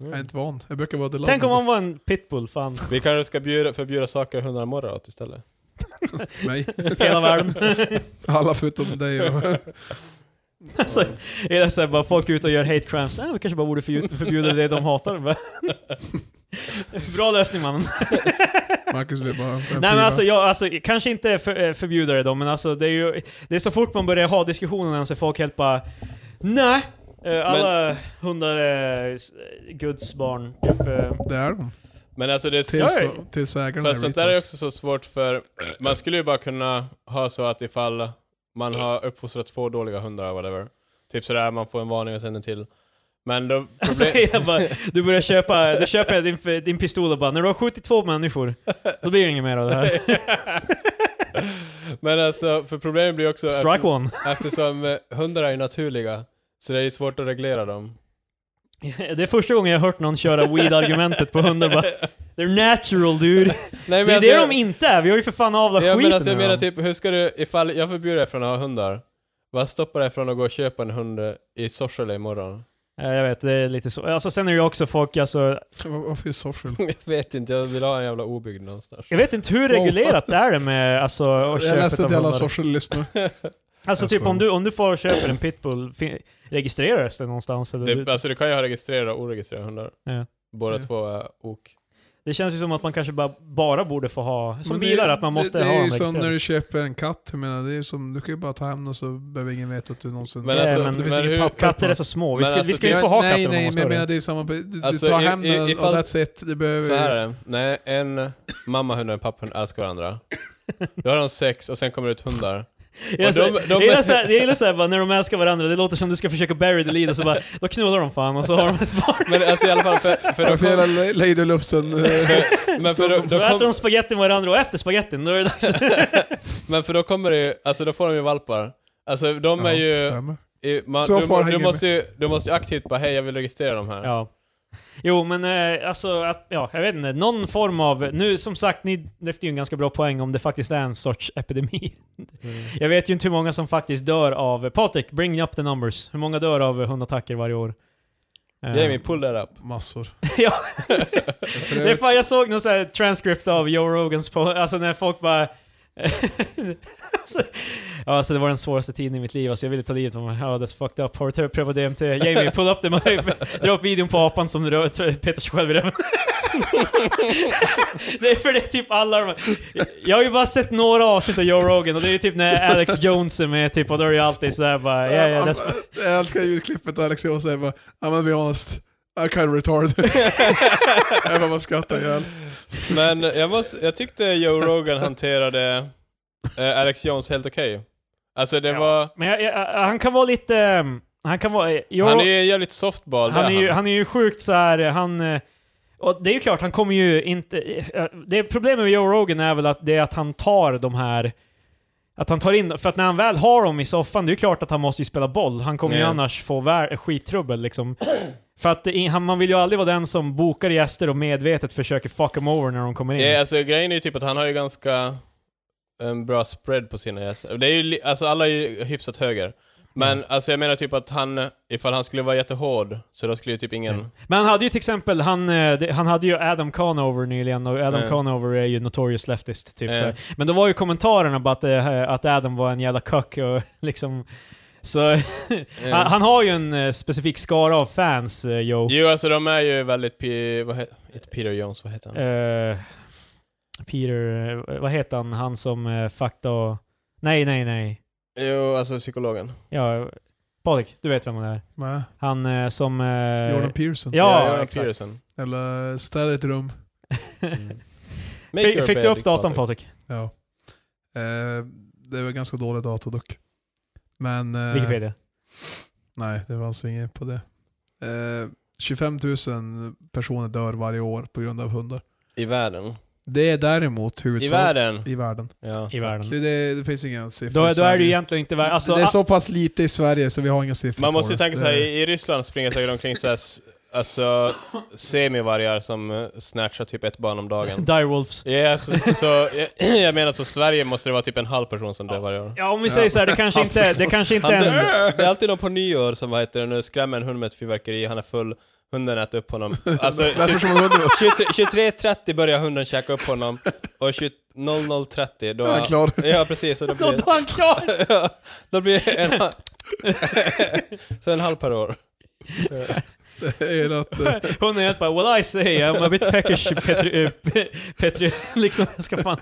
Jag är inte van. Jag brukar vara det Tänk om han var en pitbull, fan. Mm. vi kanske ska bjuda, förbjuda saker hundarna morrar åt istället. Nej, Hela världen. alla förutom dig. alltså, är det så här, bara folk är ute och gör hate crimes, äh, vi kanske bara borde förbjuda, förbjuda det de hatar. [laughs] va? Bra lösning mannen. [laughs] Marcus blir bara en Nej men fyra. alltså, jag, alltså kanske inte för, eh, förbjuda det då, men alltså det är ju... Det är så fort man börjar ha diskussionen så är folk helt bara... Nej! Eh, Alla hundar är s- Guds barn, typ. eh. Det är de. Men alltså det är Tills, Sorry. de- tills ägarna Fast sånt där är retards. också så svårt för man skulle ju bara kunna ha så att ifall man har uppfostrat två dåliga hundar eller whatever. Typ sådär, man får en varning och sen en till. Men då... [laughs] Alltså, problem- jag bara, du börjar köpa, du köper din, din pistol och bara när du har skjutit två människor, då blir det inget mer av det [laughs] här. [laughs] Men alltså, för problemet blir också Strike efter, one. [laughs] eftersom eh, hundar är ju naturliga, så det är ju svårt att reglera dem. Det är första gången jag har hört någon köra weed-argumentet på hundar [laughs] bara [laughs] They're natural dude. Nej, Det är alltså- det de inte är, vi har ju för fan avlat Ja, men skiten alltså, jag ur menar dem. typ, hur ska du, ifall jag förbjuder dig från att ha hundar, vad stoppar dig från att gå och köpa en hund i Sorsele imorgon? [laughs] Ja, Jag vet, det är lite så. Alltså sen är det ju också folk, alltså, Var- Varför är Sorsel? jag vet inte, jag vill ha en jävla obygd någonstans. jag vet inte hur reglerat det är det med alltså, och Jag köpet läste av till alla hundar. Sorsel-lyssnare. Alltså Jag typ skojar. om du, om du får och köper en pitbull, fin- registreras det någonstans? Eller? [laughs] Det, Det, alltså du kan ju ha registrerade och oregistrerade hundar. Ja. Båda Ja. två är ok. det känns ju som att man kanske bara, bara borde få ha, som Men det- bilar, att man måste det, det ha är en ju som registrerad. när du köper en katt. Jag menar, det är som, du kan ju bara ta hem den så behöver ingen veta att du någonsin... Men Ja, alltså, men- det finns men inget hur- papper på Katter är den. så små, vi Men ska, vi alltså, ska ju Ja, få ha katter nej, om de nej, var men jag menar större. det är samma... Du, du Alltså, tar i- hem i- den och ifall- that's it. Du behöver... Så här är det. Nej, en mammahund och en papphund älskar varandra. Då har de sex och sen kommer det ut hundar. Jag gillar Och de- såhär- de- jag gillar såhär- jag gillar såhär bara när de älskar varandra, det låter som du ska försöka bury the lead och så bara, då knullar de fan och så har [laughs] de ett barn. Men alltså i alla fall, för, för, då, Varför kom, hela Le- Lady Lufsen... eh, men, för då, Då då äter kom, de spagetti med varandra och efter spagettin, då är det dags. men för då kommer det ju, alltså då får de ju valpar. Alltså de är Ja, ju, stämmer. i- man, Så du, far må- hänger du, jag måste ju, du måste ju aktivt bara hej jag vill registrera de här. Ja. Jo, men eh, alltså, att, ja, jag vet inte. Någon form av... Nu, som sagt, ni lyfter ju en ganska bra poäng om det faktiskt är en sorts epidemi. [laughs] Jag vet ju inte hur många som faktiskt dör av... Patrik, bring up the numbers. Hur många dör av eh, hundattacker varje år? Eh, Jamie, pull that up. Massor. [laughs] Ja. [laughs] För Det är övrigt, fan, jag såg någon sån här transcript av Joe Rogans på, alltså när folk bara... [laughs] alltså, ja, alltså det var den svåraste tiden i mitt liv, alltså jag ville ta livet av mig. Ja, that's fucked up. Har du t- prövat DMT? Jamie, pull up the mic. Dra upp videon på apan som rör- t- petar sig själv i röven. [laughs] det är för det är typ alla de Jag har ju bara sett några avsnitt av Joe Rogan och det är ju typ när Alex Jones är med typ och då är det ju alltid sådär bara... Yeah, yeah, that's [laughs] Jag älskar ljudklippet där Alex Jones säger bara I'm gonna be honest, I'm kind of [laughs] retarded. jag bara skrattar ihjäl. Men jag, måste, jag tyckte Joe Rogan hanterade eh, Alex Jones helt okej. Alltså det Ja. var... Men jag, jag, han kan vara lite... ehm, Han kan vara... Joe, Han är ju jävligt softball, Han är, ju, han. han är ju sjukt så här, han... eh, Och det är ju klart, han kommer ju inte... eh, Det problemet med Joe Rogan är väl att det är att han tar de här... Att han tar in För att när han väl har dem i soffan, det är ju klart att han måste ju spela boll. Han kommer ju Ja. annars få vär- skittrubbel liksom. [clears throat] För att i- han, man vill ju aldrig vara den som bokar gäster och medvetet försöker fuck them over när de kommer in. Ja, alltså grejen är ju typ att han har ju ganska en bra spread på sina gäster. Det är ju, li- alltså alla är ju hyfsat höger. Men Mm. alltså jag menar typ att han, ifall han skulle vara jättehård, så då skulle ju typ ingen... Men han hade ju till exempel, han, eh, det- han hade ju Adam Conover nyligen och Adam Mm. Conover är ju notorious leftist typ Mm. så. här. Men då var ju kommentarerna bara att, eh, att Adam var en jävla kuck och [laughs] liksom... Så eh, han, han har ju en eh, specifik skara av fans, eh, Joe. Jo, alltså de är ju väldigt... P, vad heter, inte Peter Jones, vad heter han? Eh, Peter, eh, vad heter han, han som uh, fakta och... Nej, nej, nej. Jo, alltså psykologen. Ja, Patrik, du vet vem han är. Med Han eh, som... eh, [laughs] Jordan Pearson. Ja, Jordan exakt. Peterson. Eller städa ett rum. Make fick your fick bed, du upp datan Patrik? Ja. Eh, det var ganska dålig data dock. Men... eh, Wikipedia. Nej, det fanns inget på det. Eh, 25 000 personer dör varje år på grund av hundar. I världen. Det är däremot I huvudsakligen... världen. I världen. Ja. I världen. Det, det, det finns inga siffror Mm. Då, i då är Sverige. du egentligen inte värd... Alltså, Mm. det [laughs] är ah, så pass lite i Sverige så vi har inga siffror Man på måste ju det. Eh, tänka såhär, Det- Eh. i i Ryssland springer säkert omkring såhär, s- alltså semivargar som eh, snatchar typ ett barn [laughs] om dagen. Die Wolves. Ja, alltså, så, jag, [clears throat] jag menar så Sverige måste det vara typ en halv person som dör varje år. Ja, om vi säger så här, det kanske inte, det kanske inte Han, är en... det är alltid någon på nyår som vad heter det nu, skrämmer en hund med ett fyrverkeri, han är full, hunden äter [laughs] upp honom. Alltså, Därför som hunden 23- 23.30 börjar hunden käka upp honom, och 20 00.30 då... Då är han klar. Ja, [laughs] precis. Och då, [laughs] Då [laughs] blir, är han klar! då blir det en halv... [laughs] så en halv [laughs] per år. Det är att, eh, [laughs] Hon är helt bara 'What I say, I'm a bit peckish Petri... eh, pe- Petri [laughs] liksom, jag ska [laughs] fan...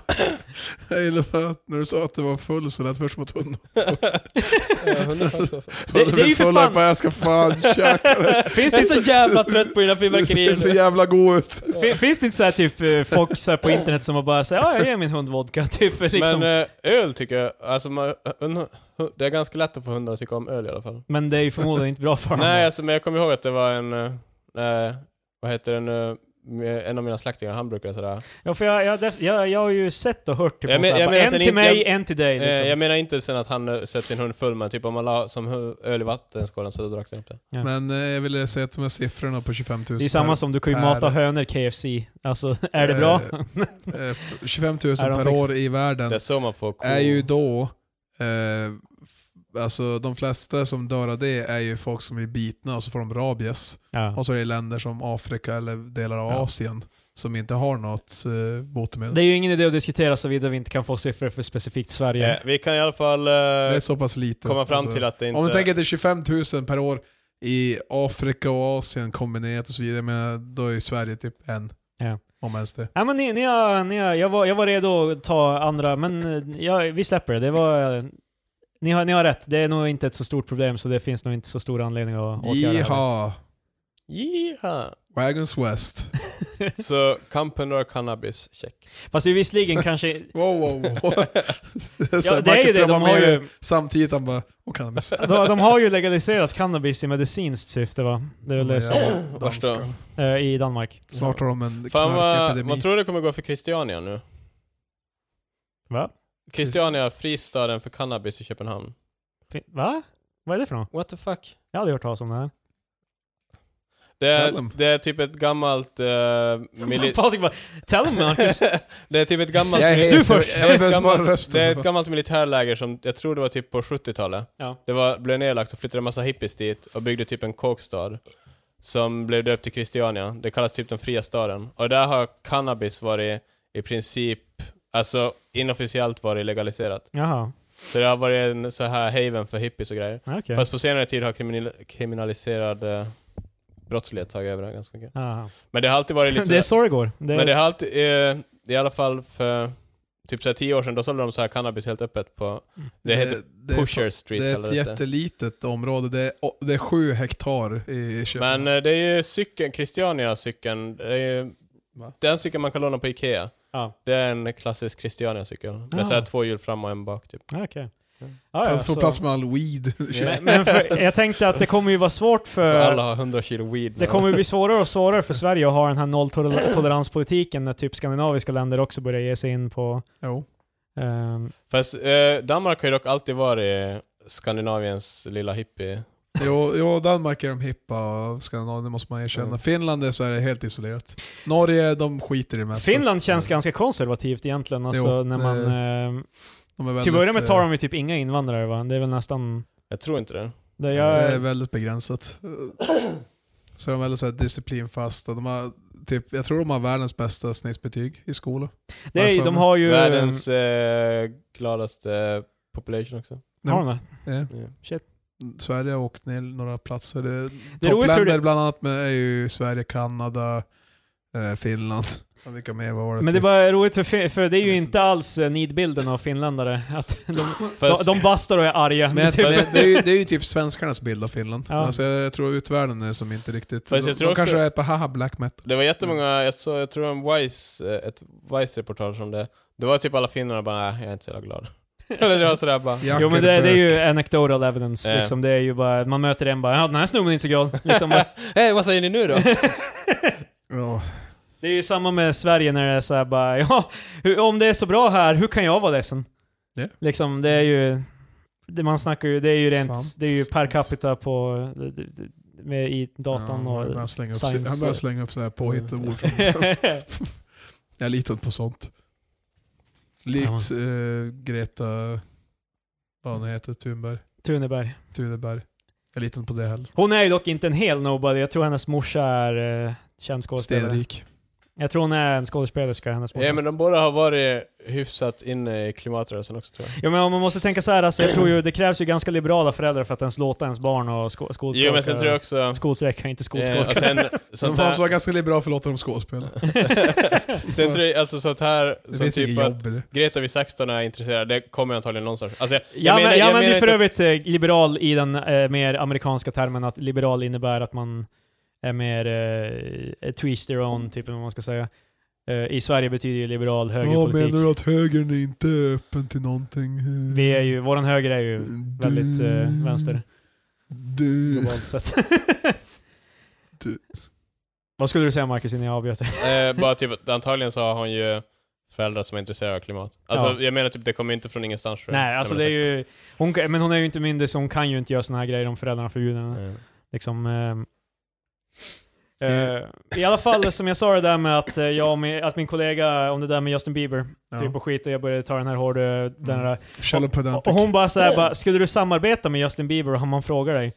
jag gillar för att när du sa att det var full så lät det först som att hunden Ja, hunden är också- Det, det är ju för fan... Bara, jag [laughs] ska fan käka det. Finns det Jag är inte, så [laughs] jävla trött på dina Det ser så fyrverkerier. jävla god ut. fi- finns det inte så här typ eh, folk så här på internet som har bara säger 'Ja, jag ger min hund vodka' [laughs] typ liksom. Men, Men eh, öl tycker jag, alltså man, un- hu- det är ganska lätt att få hundar att tycka om öl i alla fall. det är ju förmodligen inte bra för honom. Nej, alltså, men jag kommer ihåg att det var en, eh, eh, vad heter den, eh, med- en av mina släktingar, han brukade sådär. Ja, för jag, jag, def- jag, jag har ju sett och hört typ Jag om men- så här, jag bara, menar en sen till inte- mig, jag- en till dig liksom. Eh, jag menar inte sen att han eh, söp sin hund full, men typ om man la som hu- öl i vattenskålen så då drack den upp det. Ja. Men eh, jag ville säga att de här siffrorna på 25 000 det är samma som du kan ju Per- mata hönor KFC. Alltså, är det bra? Eh, eh, 25 000 Är de per liksom- år i världen Det är så man får ko. är ju då, eh, f- alltså de flesta som dör av det är ju folk som blir bitna och så får de rabies. Ja. [laughs] Och så är det länder som Afrika eller delar av Ja. Asien som inte har något eh, botemedel. Det är ju ingen idé att diskutera såvida vi inte kan få siffror för specifikt Sverige. Eh, vi kan i alla fall eh, Det är så pass lite. komma fram Alltså, till att det inte... Om du tänker att det är 25 000 per år i Afrika och Asien kombinerat och så vidare, men då är ju Sverige typ en. Ja. Om ens det. Nej men ni, ni, har, ni har, jag, var, jag var redo att ta andra, men eh, ja, vi släpper det. det var, eh, ni, har, ni har rätt, det är nog inte ett så stort problem så det finns nog inte så stor anledning att åtgärda det. här. Jaha. Jiha! Wagons West. Så Campendor Cannabis, check. [laughs] Fast det är visserligen kanske... Wow, wow, [laughs] wow. det är så Ja, här, det är ju Marcus det, de drömmar har med ju, samtidigt han bara, och cannabis. de, de har ju legaliserat cannabis i medicinskt syfte va? Det är väl det som, Ja, Vars danskar. då? eh, I Danmark. Snart har de en Fan vad, knarkepidemi. vad tror du det kommer gå för Christiania nu? Va? Christiania, fristaden för cannabis i Köpenhamn. Fin- Va? Vad är det för något? What the fuck? Jag har aldrig hört talas om det här. Det är, Tell 'em. det är typ ett gammalt... [laughs] eh, mili- [laughs] Patrik bara, tell them Marcus. [laughs] det är typ ett gammalt... Jag är mili- hes, Du jag- först. Jag vill det, är bäst ett bara gammalt det är ett rösten. gammalt militärläger som jag tror det var typ på 70-talet. Ja. Det var, blev nedlagt och flyttade en massa hippies dit och byggde typ en kåkstad. som blev döpt till Christiania. Det kallas typ den fria staden. Och där har cannabis varit i princip, alltså inofficiellt varit legaliserat. Jaha, Så det har varit en så här haven för hippies och grejer. okej. Fast på senare tid har kriminal- kriminaliserad eh, brottslighet tagit över det ganska mycket. Jaha. Men det har alltid varit lite Det är sådär- så det går. Det, Men det har alltid, eh, i alla fall för typ såhär tio år sedan, då sålde de så här cannabis helt öppet på, det heter det är Pusher fa- Street det är ett kallades det. jättelitet område, det är, å- det är sju hektar i Köpenhamn. Men eh, det är ju cykeln, Christiania-cykeln, det är ju, Va? den cykeln man kan låna på Ikea. ja, Det är en klassisk Christiania-cykel. Med Ah. så här två hjul fram och en bak typ. okej. Ja, Man ja, får så- plats med all weed. Ja. Men för, jag tänkte att det kommer ju vara svårt För för... alla har 100 kilo weed. Det kommer bli svårare och svårare för Sverige att ha den här nolltoleranspolitiken när typ skandinaviska länder också börjar ge sig in på... [laughs] Jo. ehm, [laughs] Fast eh, Danmark har ju dock alltid varit Skandinaviens lilla hippie. Jo, jo, Danmark är de hippa och Skandinavien, det måste man erkänna. Mm. Finland är så här helt isolerat. Norge, de skiter i mest. Finland känns ganska konservativt egentligen. Alltså, Mm. Jo, när man, det- ehm, De är till väldigt, att börja med tar eh, de ju typ inga invandrare va? Det är väl nästan... Jag tror inte det. Det Det är jag, [clears throat] väldigt begränsat. Så de är väldigt så här disciplinfasta. De har, typ, jag tror de har världens bästa snittbetyg i skolan. det är, ju- de har ju... Världens eh, gladaste population också. Har de det? Ja. Sverige har åkt ner några platser. Det, Det är roligt hur toppländer det- bland annat med är ju Sverige, Kanada, eh, Finland. Och vilka mer var det? Men det typ? var roligt för, fin- för det är Jag ju visste inte alls eh, nidbilden av finländare. Att de, Fast- de, de bastar och är arga. [laughs] Men jag, typ. men det, är ju, det är ju typ svenskarnas bild av Finland. Ja. Alltså, jag tror utvärlden är som inte riktigt... Fast jag de tror de också- kanske är på haha black metal. Det var jättemånga, jag, så, jag tror en Vice, eh, ett Vice-reportage om det. Det var typ alla finnarna bara nej, jag är inte så jävla glad. [laughs] Eller det var sådär bara. Jacker Jo men det, det är Burke. ju anecdotal evidence. Ja. Liksom, det är ju bara, man möter en bara ja, den här snubben är inte så glad. Liksom, [laughs] bara, Hej, vad säger ni nu då? Ja. det är ju samma med Sverige när det är såhär bara ja, hur, om det är så bra här, hur kan jag vara ledsen? Ja. Liksom, det är ju... Det man snackar ju, det är ju rent, Sant, det är ju per sant. capita på... det- det- det- Med, I datan Ja, han och... börjar slänga upp, science. han börjar slänga upp sådär påhittade ord. [laughs] Från, jag är liten på sånt. Likt eh, Greta... Vad hon heter, Thunberg. Tuneberg. Thuneberg. Jag är liten på det heller. Hon är ju dock inte en hel nobody, jag tror hennes morsa är eh, känd skådespelare. Stenrik. Jag tror hon är en skådespelerska, hennes morsa. [laughs] ja, men de båda har varit hyfsat inne i klimatrörelsen också tror jag. Ja men om man måste tänka så här, alltså, jag tror ju det krävs ju ganska liberala föräldrar för att ens låta ens barn och sko- skolskolka. Jo, men sen tror jag också... Skolstrejka, inte skolskolka. Eh, och sen, sånt [laughs] De fanns här, vara ganska liberala för att låta dem skådespela. [laughs] sen tror jag, alltså sånt här, Det som finns typ inget att jobb i det. Greta vid 16 är intresserad, det kommer jag antagligen någonstans. Alltså, jag, ja, men, ja, jag men det är för inte- övrigt eh, liberal i den eh, mer amerikanska termen att liberal innebär att man är mer eh, twist your own, typ vad man ska säga. Eh, I Sverige betyder ju liberal Ja, högerpolitik. menar du att högern är inte öppen till någonting? Vi är ju, våran höger är [laughs] ju väldigt eh, vänster, Du, globalt sett. Du. Vad skulle du säga Marcus innan jag avbröt dig? Eh, bara typ, att antagligen så har hon ju föräldrar som är intresserade av klimat. Alltså Ja. jag menar typ, det kommer ju inte från ingenstans tror jag. Nej, alltså när det är man ju... Hon, kan- men hon är ju inte myndig så hon kan ju inte göra såna här grejer om föräldrarna förbjuder henne. 16. Ja. Liksom, ehm, eh, I alla fall som jag sa det där med att eh, jag och min, att min kollega om det där med Justin Bieber, Ja. typ och skit och jag började ta den här hårda, den där, Shallow och, pedantic. och hon bara såhär bara, skulle du samarbeta med Justin Bieber om han frågar dig?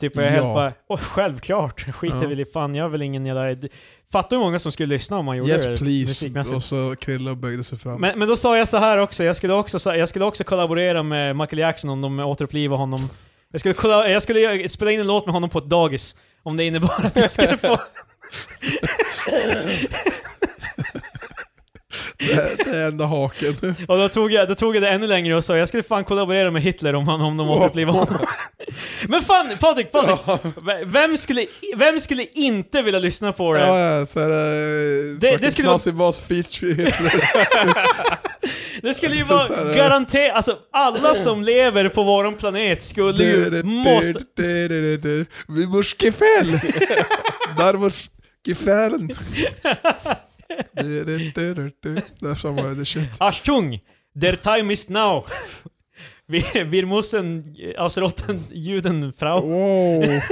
Typ och jag Ja. helt bara, "Åh, självklart, skiter Ja. väl i fan, jag är väl ingen jävla... Fattar hur många som skulle lyssna om man gjorde Yes det please. musikmässigt. Och så Krilla böjde sig fram. Men, men då sa jag så här också, jag skulle också, sa- jag skulle också kollaborera med Michael Jackson om de återupplivar honom. Jag skulle, kolla, jag skulle göra- spela in en låt med honom på ett dagis, om det innebar att jag skulle [laughs] få... det, det är enda haken. [laughs] Och då tog jag, då tog jag det ännu längre och sa jag skulle fan kollaborera med Hitler om, han, om de återupplivar [laughs] honom. Men fan, Patrik, Patrik! v- Vem skulle, vem skulle inte vilja lyssna på det? Ja, ja, så är det... Det- Det, det skulle Knasig bas-feature i Hitler. Det skulle ju Så vara här, ja. garanterat, alltså alla som lever på våran planet skulle Du, ju, du, måste... du, du, du, du. Vi [laughs] måste gefäl! Där måste gefälen. Du, du, du, du, du. Där sa man det shit. Achtung! Der Time is now! [laughs] alltså Wir, wir müssen ausrotten Juden, Frau. Wow!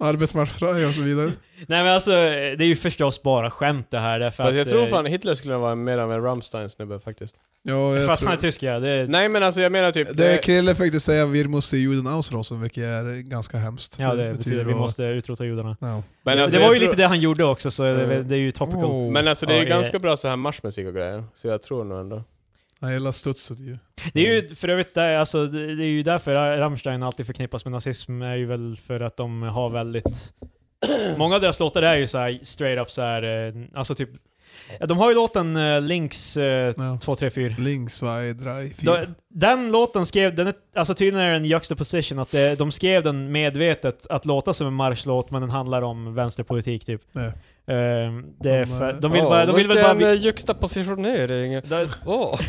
Arbetsmarknadsfröja och så vidare. Nej men alltså, det är ju förstås bara skämt det här därför Fast att... jag tror eh, fan Hitler skulle vara mer av en Rammstein-snubbe faktiskt. Ja, För jag att han är tror. tysk ja, det är... Nej men alltså jag menar typ... Det är Krille faktiskt säga wir muss die Juden ausrosen, vilket är ganska hemskt. Ja det betyder vi att- måste utrota judarna. Ja. men alltså, det var jag ju tror- lite det han gjorde också så det, Mm. det är ju topical. Oh. Men alltså det är ju Ja, ganska bra så här marschmusik och grejer, så jag tror nog ändå. Jag gillar studset ju. Det är ju för övrigt där, alltså, det det är ju därför Rammstein alltid förknippas med nazism, är ju väl för att de har väldigt... [clears throat] Många av deras låtar är ju så här straight up så här, eh, alltså typ... ja, De har ju låten eh, Links eh, Ja. 234. Links, zwei, drei, Då- vier. Den låten skrev, den är, alltså tydligen är det en juxtaposition, att det, de skrev den medvetet att låta som en marschlåt, men den handlar om vänsterpolitik typ. Ja. Ehm, det är Om, för, eh, de vill bara, de vill väl bara... vi- juxtapositionering! de- Åh!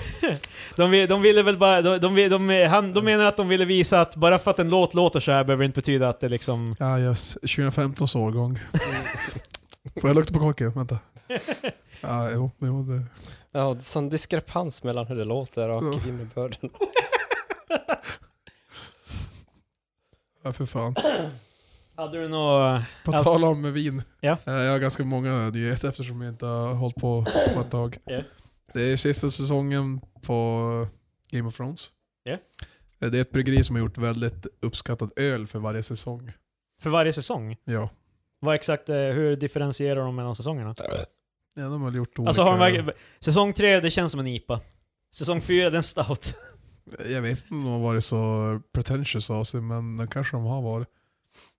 De, vill, de ville väl bara, de, de, vill- de, han, de menar att de ville visa att bara för att en låt låter så här behöver det inte betyda att det [laughs] liksom... Ja, yes. 2015 [laughs] års årgång. Får jag lukta på korken? Vänta. Ja, jo, jo det. Ja, sån diskrepans mellan hur det låter och Ja. innebörden. Ja, för fan. Hade du något... På Ja. tal om vin. Ja. Eh, Jag har ganska många nyheter eftersom jag inte har hållit på på ett tag. Ja. Det är sista säsongen på Game of Thrones. Ja. Eh, Det är ett bryggeri som har gjort väldigt uppskattad öl för varje säsong. För varje säsong? Ja. Vad exakt, eh, hur differentierar de mellan säsongerna? ja de har väl gjort olika. Alltså har de verkligen... Säsong tre, det känns som en IPA. Säsong fyra, det är en stout. Jag vet inte om de har varit så pretentious av sig, men det kanske de har varit.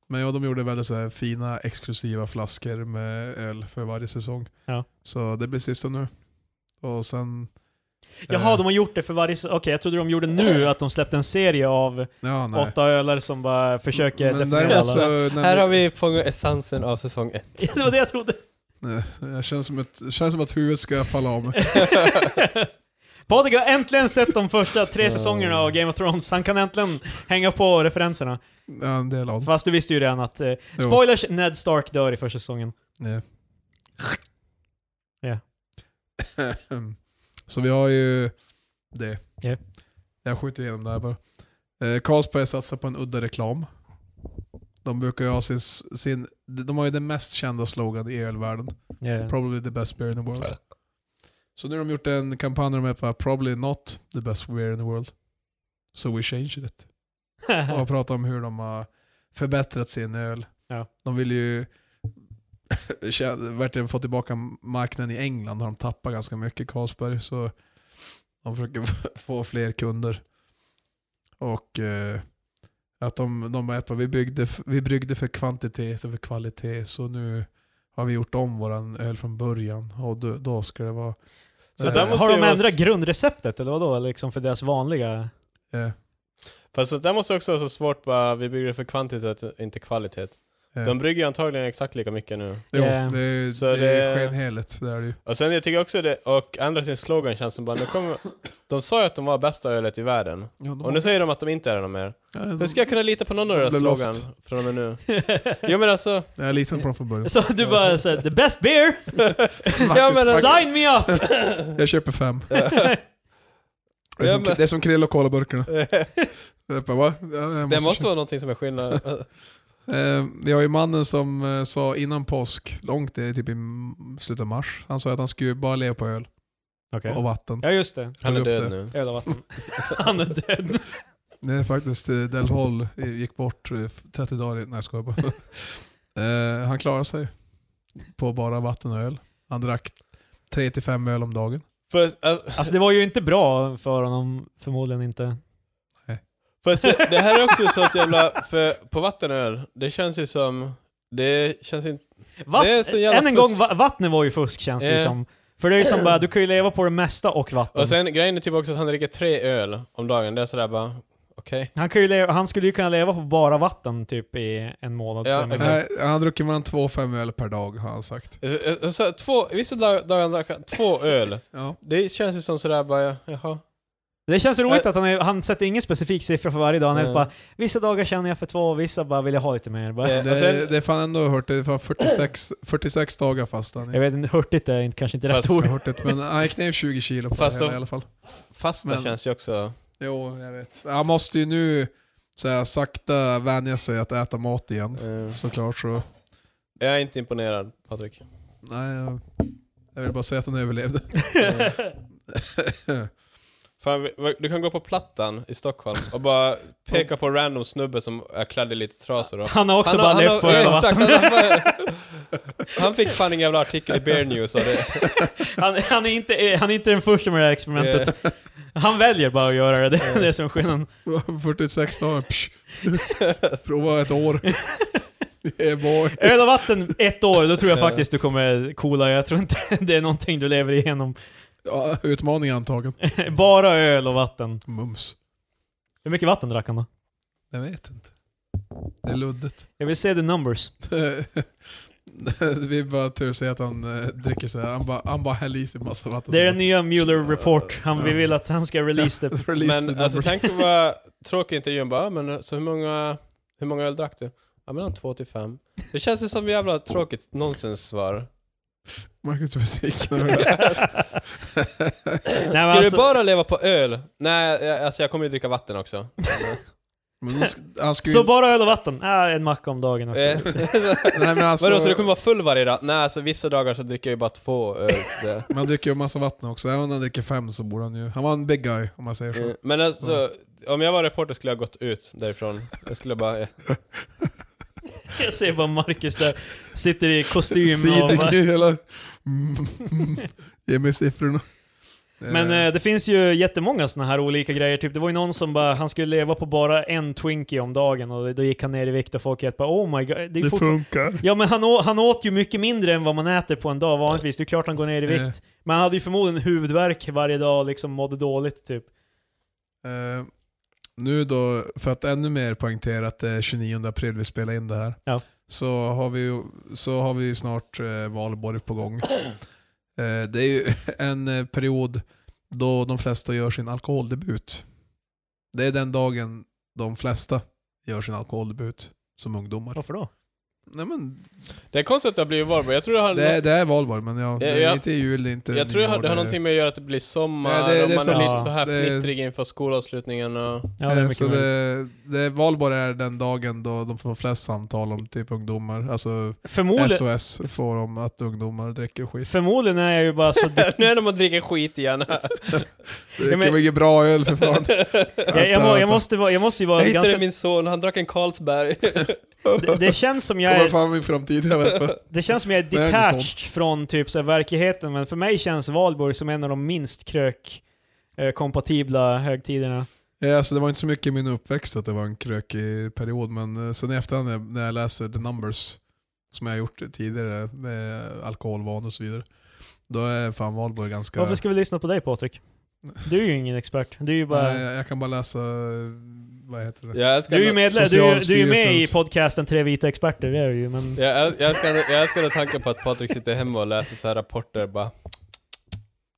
Men ja, de gjorde väldigt så här fina exklusiva flaskor med öl för varje säsong. Ja. Så det blir sista nu. Och sen... Eh. Jaha, de har gjort det för varje... s- Okej, jag trodde de gjorde nu, att de släppte en serie av eh, Ja, nej. åtta öler som bara försöker Men definiera däremot alla. så, när- Här har vi fångat essensen av säsong [laughs] ett. det var det jag trodde. Nej, Det känns som, ett, det känns som att huvudet ska falla av mig. Patrik har äntligen sett de första tre säsongerna av Game of Thrones. Han kan äntligen hänga på referenserna. Ja, en del av Fast du visste ju redan att... Eh, Jo. spoilers, Ned Stark dör i första säsongen. Nej. Ja. Så vi har ju det. Ja. Jag skjuter igenom det här bara. Eh, Carlsberg satsar på en udda reklam. De brukar ju ha sin, sin... De har ju den mest kända slogan i ölvärlden. [laughs] Probably the best beer in the world. Så nu har de gjort en kampanj där de heter Probably not the best beer in the world. So we changed it. Och har pratat om hur de har förbättrat sin öl. Ja. De vill ju [laughs] tjä- verkligen få tillbaka marknaden i England har de tappat ganska mycket Carlsberg. Så de försöker [laughs] få fler kunder. Och eh, att de, de bara, vi, byggde, f- vi bryggde för kvantitet istället för kvalitet. Så nu har vi gjort om våran öl från början. Och då, då ska det vara... Så eh, där måste Har de ju vara s- ändrat grundreceptet eller vadå? Liksom för deras vanliga... [laughs] eh, Fast det där måste också vara så svårt bara, vi bygger det för kvantitet, inte kvalitet. eh. De brygger ju antagligen exakt lika mycket nu. Jo, Eh, det är, så det är det- skenheligt. Det är det ju. Och sen jag tycker också det, och ändra sin slogan känns som bara, nu kommer, de sa ju att de var bästa ölet i världen. Och nu säger de att de inte är det mer. Ja, de- Hur ska jag kunna lita på någon av deras Blev lost. slogan från och med nu? Jo [laughs] men alltså, Jag är liten på dem från början. Så du bara såhär, the best beer! Marcus, men- Marcus, Sign me up! jag köper fem. Det är Ja, som, men- det är som Krill och Colaburkarna. Jag bara, va? Ja, jag det måste köpa. vara någonting som är skillnad. Eh, Vi har ju mannen som eh, sa innan påsk, långt det är typ i m- slutet av mars, han sa att han skulle bara leva på öl Okej. och vatten. Ja just det. Han Tog är upp död det. nu. Öl och vatten. [laughs] Han är död. Det är faktiskt, eh, Del Holl eh, gick bort eh, 30 dagar i- Nej jag skojar bara. [laughs] Eh, Han klarade sig på bara vatten och öl. Han drack 3-5 öl om dagen. Får jag, alltså, Alltså det var ju inte bra för honom, förmodligen inte. får jag se, det här är också så att jävla, för på vattenöl, det känns ju som, det känns inte, Vatt, Det är så jävla än en fusk. gång, va, vattnet var ju fusk känns det Eh. som. För det är ju som bara, du kan ju leva på det mesta och vatten. Mm. och sen grejen är typ också att han dricker tre öl om dagen, det är sådär bara, okej. han, kan ju leva, han skulle ju kunna leva på bara vatten typ i en månad. Ja, sen. okej. Nej, Han har druckit mellan 2-5 öl per dag har han sagt. Eh, eh, Alltså, två, vissa dag- dagar drack han två öl. Ja. Det känns ju som sådär bara, jaha. Det känns så roligt Ä- att han, är, han sätter ingen specifik siffra för varje dag. Han är Mm. bara, vissa dagar känner jag för två och vissa bara vill jag ha lite mer. Bara, Eh, Det, och sen- det är fan ändå hört, det är fan 46, 46 dagar fast han Jag vet inte, hurtigt är inte, kanske inte rätt Fast- Jag ord. har hört det, men han gick ner 20 kilo på Fast det hela, de- i alla fall. Fasta Men- känns ju också... Jo, jag vet. Han måste ju nu... Så jag sakta vänja sig att äta mat igen. Eh, Såklart så. jag är inte imponerad, Patrik. Nej, jag, jag vill bara säga att den överlevde. [laughs] Eh, Fan, vi- va- du kan gå på Plattan i Stockholm och bara peka på random snubbe som är klädd i lite trasor. Och... Han har också bara har- levt på har- öl och vatten. exakt, han, har fan- han fick fan ingen jävla artikel i Bear News [laughs] av det. Han, han, är inte, han är inte den första med det här experimentet. Eh, Han väljer bara att göra det. [laughs] Det är det som är skillnaden. 46 dagar, psch. Prova ett år. Yeah boy. Öl och vatten ett år, då tror jag faktiskt du kommer coola. Jag tror inte [laughs] det är någonting du lever igenom. Ja, utmaning antagen. Bara öl och vatten. Mums. Hur mycket vatten drack han då? Jag vet inte. Det är luddigt. [laughs] Jag vill se the numbers. Vi bara tur att säga att han eh, dricker så här. Han bara, han bara häller i sig massa vatten. Det är den Så nya Mueller Report. Han, vi vill att han ska release det. bara, [laughs] release men the alltså numbers. tänk dig vad tråkig intervjun bara, "Ah, men så hur många, hur många öl drack du? Ja mellan två till fem. Det känns ju som jävla tråkigt nonsenssvar. Marcus är [laughs] besviken. [laughs] Nej, Ska men du alltså, bara leva på öl? Nej, jag- alltså jag kommer ju dricka vatten också. Men då sk- han skulle, så bara öl och vatten? Ah, en macka om dagen också. Eh, [laughs] nej, men alltså, Vadå, så du kommer vara full varje dag? Nej, alltså vissa dagar så dricker jag ju bara två öl. [laughs] så det- Man dricker ju massa vatten också. Även om han dricker fem så borde han ju... Han var en big guy om man säger så. Mm, Men alltså, om jag var reporter skulle jag gått ut därifrån. Jag skulle bara... [laughs] eh, [laughs] Jag ser bara Marcus där, sitter i kostym och bara, [laughs] Sidor i hela... Mm, mm. [laughs] Ge mig siffrorna. Men Eh, eh, det finns ju jättemånga såna här olika grejer. Typ, det var ju någon som bara, han skulle leva på bara en Twinkie om dagen och då gick han ner i vikt och folk helt bara oh my god. Det är det fortfar- funkar. ja men han, å- han åt ju mycket mindre än vad man äter på en dag vanligtvis. Det är klart han går ner i vikt. Eh. Men han hade ju förmodligen huvudvärk varje dag och liksom mådde dåligt typ. Eh, nu då, för att ännu mer poängtera att det är 29 april vi spelar in det här. Ja. Så har vi ju så har vi ju snart eh, valborg på gång. [clears throat] Eh, det är ju [laughs] en eh, period då de flesta gör sin alkoholdebut. Det är den dagen de flesta gör sin alkoholdebut som ungdomar. Varför då? Nej, men Det är konstigt att det har blivit varm, jag tror det har... det, är, något- det är valborg, men ja, det är ja. inte jul, det är inte jag tror det har, det har nyår, någonting med att göra att det blir sommar, Ja, det- det är och man som- är lite ja, så här det- fnittrig inför skolavslutningen och... [laughs] Ja, det är Eh, mycket så möjligt. det, det, valborg är den dagen då de får flest samtal om typ ungdomar. Alltså Förmodligen, SOS får de att ungdomar dricker skit. förmodligen är jag ju bara så... [laughs] nu är de och dricker skit igen. Dricker men- mycket bra öl för [laughs] fan. jag, jag, må, jag, måste, vara- jag måste ju vara jag hittade ganska... min son, han drack en Carlsberg. Det, det känns som jag Kommer är... fan min framtid, jag vet inte. Det känns som jag är Men jag är inte detached från typ så här, verkligheten, men för mig känns Valborg som en av de minst krök-kompatibla högtiderna. Ja, Alltså, det var inte så mycket i min uppväxt att det var en krökig period, men eh, sen i efterhand när jag- när jag läser the numbers, som jag har gjort tidigare med alkoholvanor och så vidare, då är fan valborg ganska... Varför ska vi lyssna på dig Patrik? Du är ju ingen expert. Du är ju bara... Nej, jag, jag kan bara läsa, eh, vad heter det? [laughs] jag älskar Du är ju ändå- medlem, du, är ju- du är ju med i Socialstyrelsens- podcasten Tre vita experter, det är du ju. Men Jag, äl- jag älskar, ändå- jag älskar ändå tanken på att Patrik sitter hemma och läser så här rapporter bara.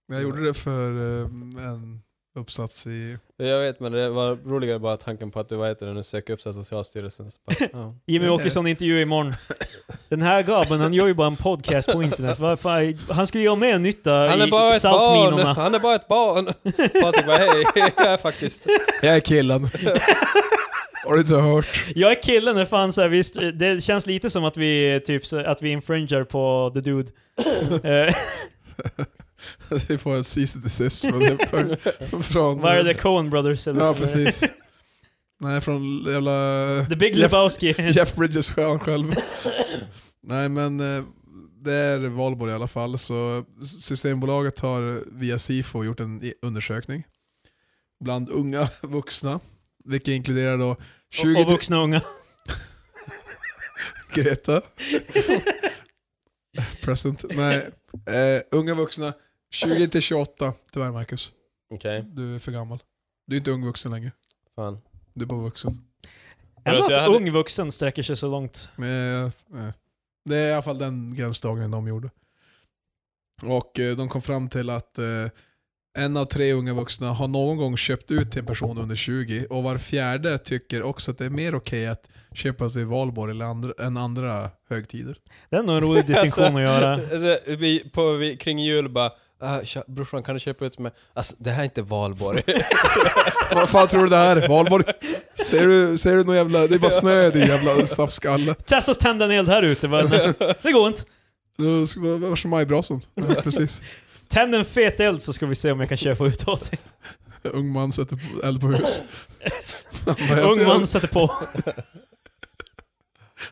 Jag gjorde det för eh, en uppsats i... Jag vet men det var roligare bara tanken på att du, vad heter det nu, söker upp så här Socialstyrelsen. Så bara, ja. Jimmy Åkesson intervju imorgon. Den här gubben, han gör ju bara en podcast på internet. Varför? Han skulle göra mer nytta [laughs] Han är i bara ett barn! saltminorna. Han är bara ett [laughs] barn! Patrik bara hej, [laughs] jag är faktiskt... Jag är killen. Har du inte hört? Jag är killen, det, fan, så här, visst, det känns lite som att vi, typ, så, att vi infringer på the dude. Eh, [laughs] Vi får en cease and desist från... från, från Vad är det? Coen Brothers? Eller Ja, så? precis. Nej, från jävla... The Big Jeff- Lebowski. Jeff Bridges stjärn själv. Nej men eh, det är valborg i alla fall så Systembolaget har via Sifo gjort en i- undersökning bland unga [laughs] vuxna. Vilket inkluderar då Och, 20 och vuxna [laughs] unga. Greta. Alltså, Present. Nej. Eh, unga vuxna 20 till 28. Tyvärr Marcus. Okej, Du är för gammal. Du är inte ung vuxen längre. fan. Du är bara vuxen. Ändå Alltså, jag att hade- ung vuxen sträcker sig så långt. Eh, nej. Det är i alla fall den gränsdragningen de gjorde. Och eh, de kom fram till att eh, en av tre unga vuxna har någon gång köpt ut till en person under 20 och var fjärde tycker också att det är mer okej att köpa ut vid valborg eller andra, än andra högtider. Det är nog en rolig distinktion att [laughs] göra. det- Vi, på, vi, kring jul bara, ah, tja, [laughs] brorsan kan du köpa ut med... Alltså det här är inte valborg. Vad fan tror du det här är? Valborg? Ser du, ser du någon jävla, det är bara snö i din jävla staffskalle. Testa att tända en eld här ute. [laughs] Bara, nej, det går inte. Då ska man- Vars är majbrasan? Ja, Precis. Tänd en fet eld så ska vi se om jag kan köpa ut åt dig. Ung man sätter på- eld på hus. [laughs] Han bara, jag- Ung man sätter på.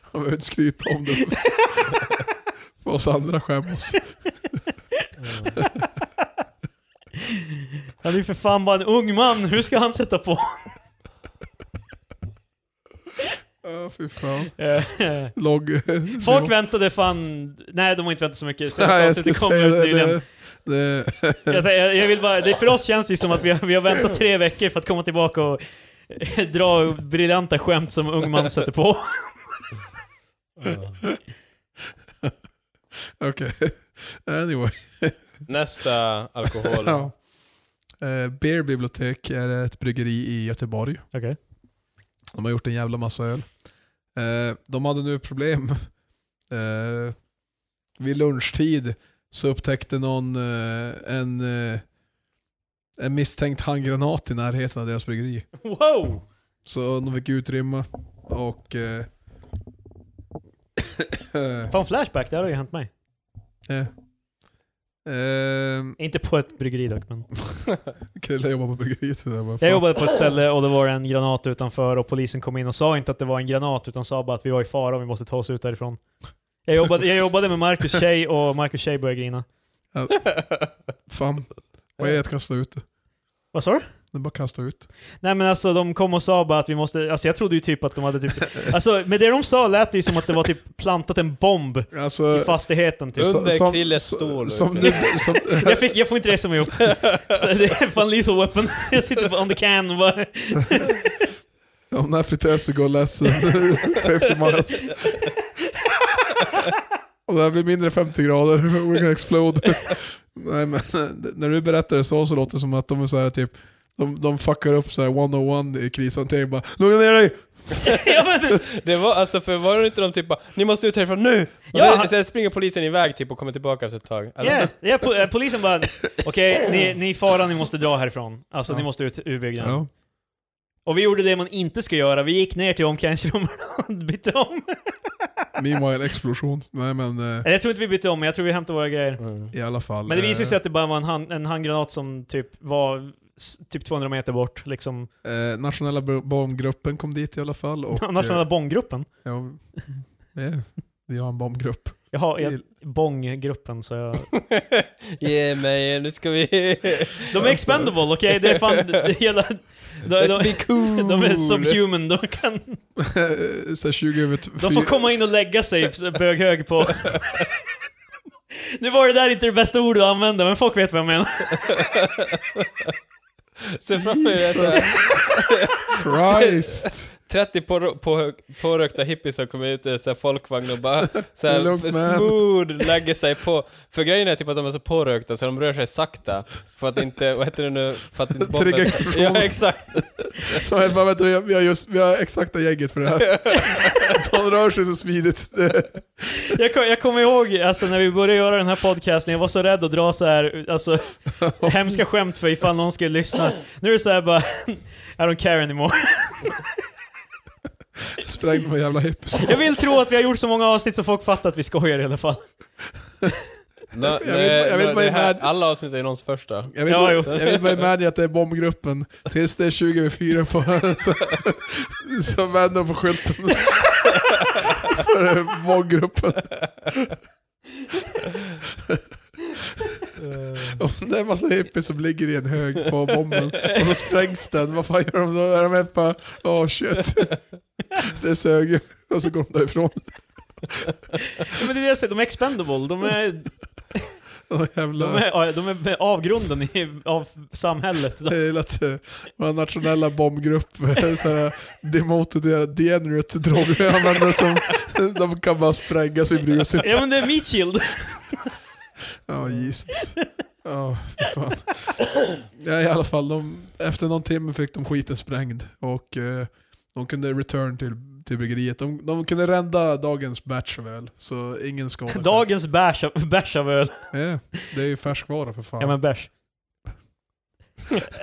Han behöver inte skryta [laughs] om det. För oss andra skämmas. Han är ju för fan bara en ung man. Hur ska han sätta på? Ja, fy fan. Eh, Logg. Folk väntade fan... Nej, de har inte väntat så mycket. Senaste [laughs] Nej, jag avsnittet skulle kom säga ut det. nyligen. det, det Jag, jag, jag vill bara, det för oss känns det ju som att vi har, vi har väntat tre veckor för att komma tillbaka och [laughs] dra briljanta skämt som ung man sätter på. Okej. [laughs] Anyway. Nästa alkohol. Ja. Eh, Beer Bibliotek är ett bryggeri i Göteborg. Okej. De har gjort en jävla massa öl. Eh, de hade nu problem. Eh, vid lunchtid så upptäckte någon eh, en, eh, en misstänkt handgranat i närheten av deras bryggeri. Wow! Så de fick utrymma och... Eh, [coughs] Fan flashback, det här har ju hänt mig. eh, eh, Inte på ett bryggeri dock, men. Krille jobbar på bryggeriet. Så jag bara, Jag fan. jobbade på ett ställe och det var en granat utanför och polisen kom in och sa inte att det var en granat utan sa bara att vi var i fara och vi måste ta oss ut därifrån. Jag jobbade, jag jobbade med Marcus tjej och Marcus tjej började grina. Fan. Vad är det att kasta ut det? Vad sa du? Det är bara att kasta ut. Nej men alltså de kom och sa bara att vi måste, alltså jag trodde ju typ att de hade typ, alltså med det de sa lät det ju som att det var typ plantat en bomb i Alltså, fastigheten typ. Under som- Krilles som- stol. Som du, som, Jag, fick, jag får inte resa mig upp. Så det är fan lethal weapon. Jag sitter på on the can och bara... eh, om den här fritösen går ledsen [laughs] 50 miles. Och det här blir mindre än 50 grader, [laughs] we're gonna explode. Nej men, eh, när du berättar det så så låter det som att de är så här typ, de, de fuckar upp så här 101 i krishantering bara Lugna ner dig! Ja, men, [laughs] Det var alltså, för var det inte de typ bara, ni måste ut härifrån nu! Och Ja, sen, han- sen springer polisen iväg typ och kommer tillbaka efter ett tag. Eller? yeah, yeah, po- eh, polisen bara okej, ni, ni är i fara, ni måste dra härifrån. Alltså Ja. ni måste ut ur byggnaden. Ja. Och vi gjorde det man inte ska göra, vi gick ner till omklädningsrummet och [laughs] bytte om. Meanwhile explosion. Nej men eh, Eller jag tror inte vi bytte om, men jag tror vi hämtade våra grejer. Mm. [laughs] i alla fall. Men det visade eh, sig att det bara var en, hand, en handgranat som typ var s- typ 200 meter bort. Liksom. [laughs] Eh, nationella bo- bombgruppen kom dit i alla fall. Och, Nationella bonggruppen. eh, ja, eh, vi har en bombgrupp. [laughs] Jaha, jag, bonggruppen så jag... Ge mig, nu ska vi... [laughs] De är expendable, okej? Det är fan... Det är jävla, de, Let's de, be cool! de är subhuman, de kan... så här 20 över t- De får fy- komma in och lägga sig böghög [laughs] på... Nu var det där inte det bästa ordet att använda, men folk vet vad jag menar. Sen framför er så [laughs] här, Christ! 30 på, på, pårökta hippies som kommer ut ur så här folkvagn och bara så Det är lugnt, här, man. smooth lägger sig på. För grejen är typ att de är så pårökta så de rör sig sakta. För att inte, vad heter det nu? För att inte bomben- Trigga explosion. Ja, exakt. Så jag bara, vänta, vi har, vi har just, vi har exakta gänget för det [laughs] här. De rör sig så smidigt. [laughs] Jag, kom, jag kommer ihåg alltså, när vi började göra den här podcasten, jag var så rädd att dra så här, [laughs] alltså, hemska skämt för ifall någon skulle lyssna. Nu är det så här bara, [laughs] I don't care anymore. [laughs] Sprängd med jävla hippies. Jag vill tro att vi har gjort så många avsnitt så folk fattar att vi skojar i alla fall. Nå, Jag vill- jag vill nå- bara det här, med- alla avsnitt är ju någons första. Jag vill, Ja, bara, jo. jag vill bara med dig att det är bombgruppen. Tills det är 20 över 4 på... Så, så vänder de på skylten. Så är det bombgruppen. Om det är en massa hippies som ligger i en hög på bomben och så sprängs den, vad fan gör de då? Är de helt bara åh shit. Det sög ju. Och så går de därifrån. Men det är det jag säger, de är expendable. De är, Åh de jävlar. är, de är avgrunden i, av [laughs] samhället. Jag gillar att eh, vår nationella bombgrupp, [laughs] eh, så här, demoted, degenerate droger använder som, de kan bara sprängas vid bruset. Ja men det är meat shield. Ja, Jesus. Ja, fy fan. Ja, i alla fall, de, efter någon timme fick de skiten sprängd och eh, de kunde return till, till bryggeriet. De, de kunde rädda dagens batch av öl, så ingen [laughs] skada. Dagens bärs av, bärs av öl. Ja, det är ju färskvara för fan. Ja men bärs.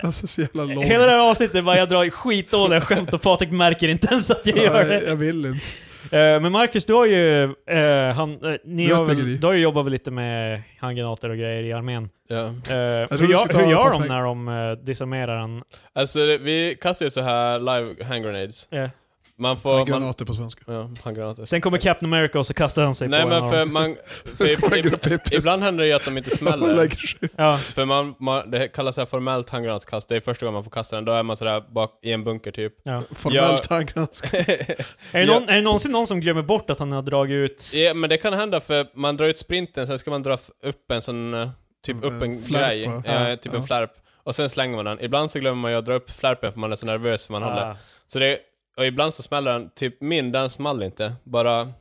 Alltså så jävla lång. Hela det här avsnittet är bara jag drar skitdåliga skämt och Patrik märker inte ens att jag gör det. Nej, jag vill inte. Eh, Men Marcus, du har ju, eh, han, eh, ni har Låtbyggeri. väl, du har ju jobbat väl lite med handgranater och grejer i armén. Ja. Eh, trodde hur, du gör- skulle ta hur gör på de sig- när de uh, disarmerar en? Alltså det, vi kastar ju så här live hand grenades. eh, Man Ja, får... Man, granater på svenska. ja, handgranater. sen kommer Captain America och så kastar han sig Nej på en men av för dem. man... [laughs] För ib- Lägger ib- upp i piss. ibland händer det ju att [laughs] de inte Man smäller. lägger sig. Ja, För man, man, det kallas så här formellt handgranatskast, det är första gången man får kasta den. Då är man sådär bak i en [laughs] bunker typ. ja. Formellt handgranatskap. Är, det Ja. någon, är det någonsin någon som glömmer bort att han har dragit ut... Ja, men det kan hända för man drar ut sprinten, sen ska man dra f- upp en sån, eh, typ Mm, upp en en flärp, grej, va? eh, Ja, typ ja. en flärp. Och sen slänger man den. Ibland så glömmer man ju att dra upp flärpen för man är så nervös för man håller. Ah. Så det, och ibland så smäller den, typ min den small inte, bara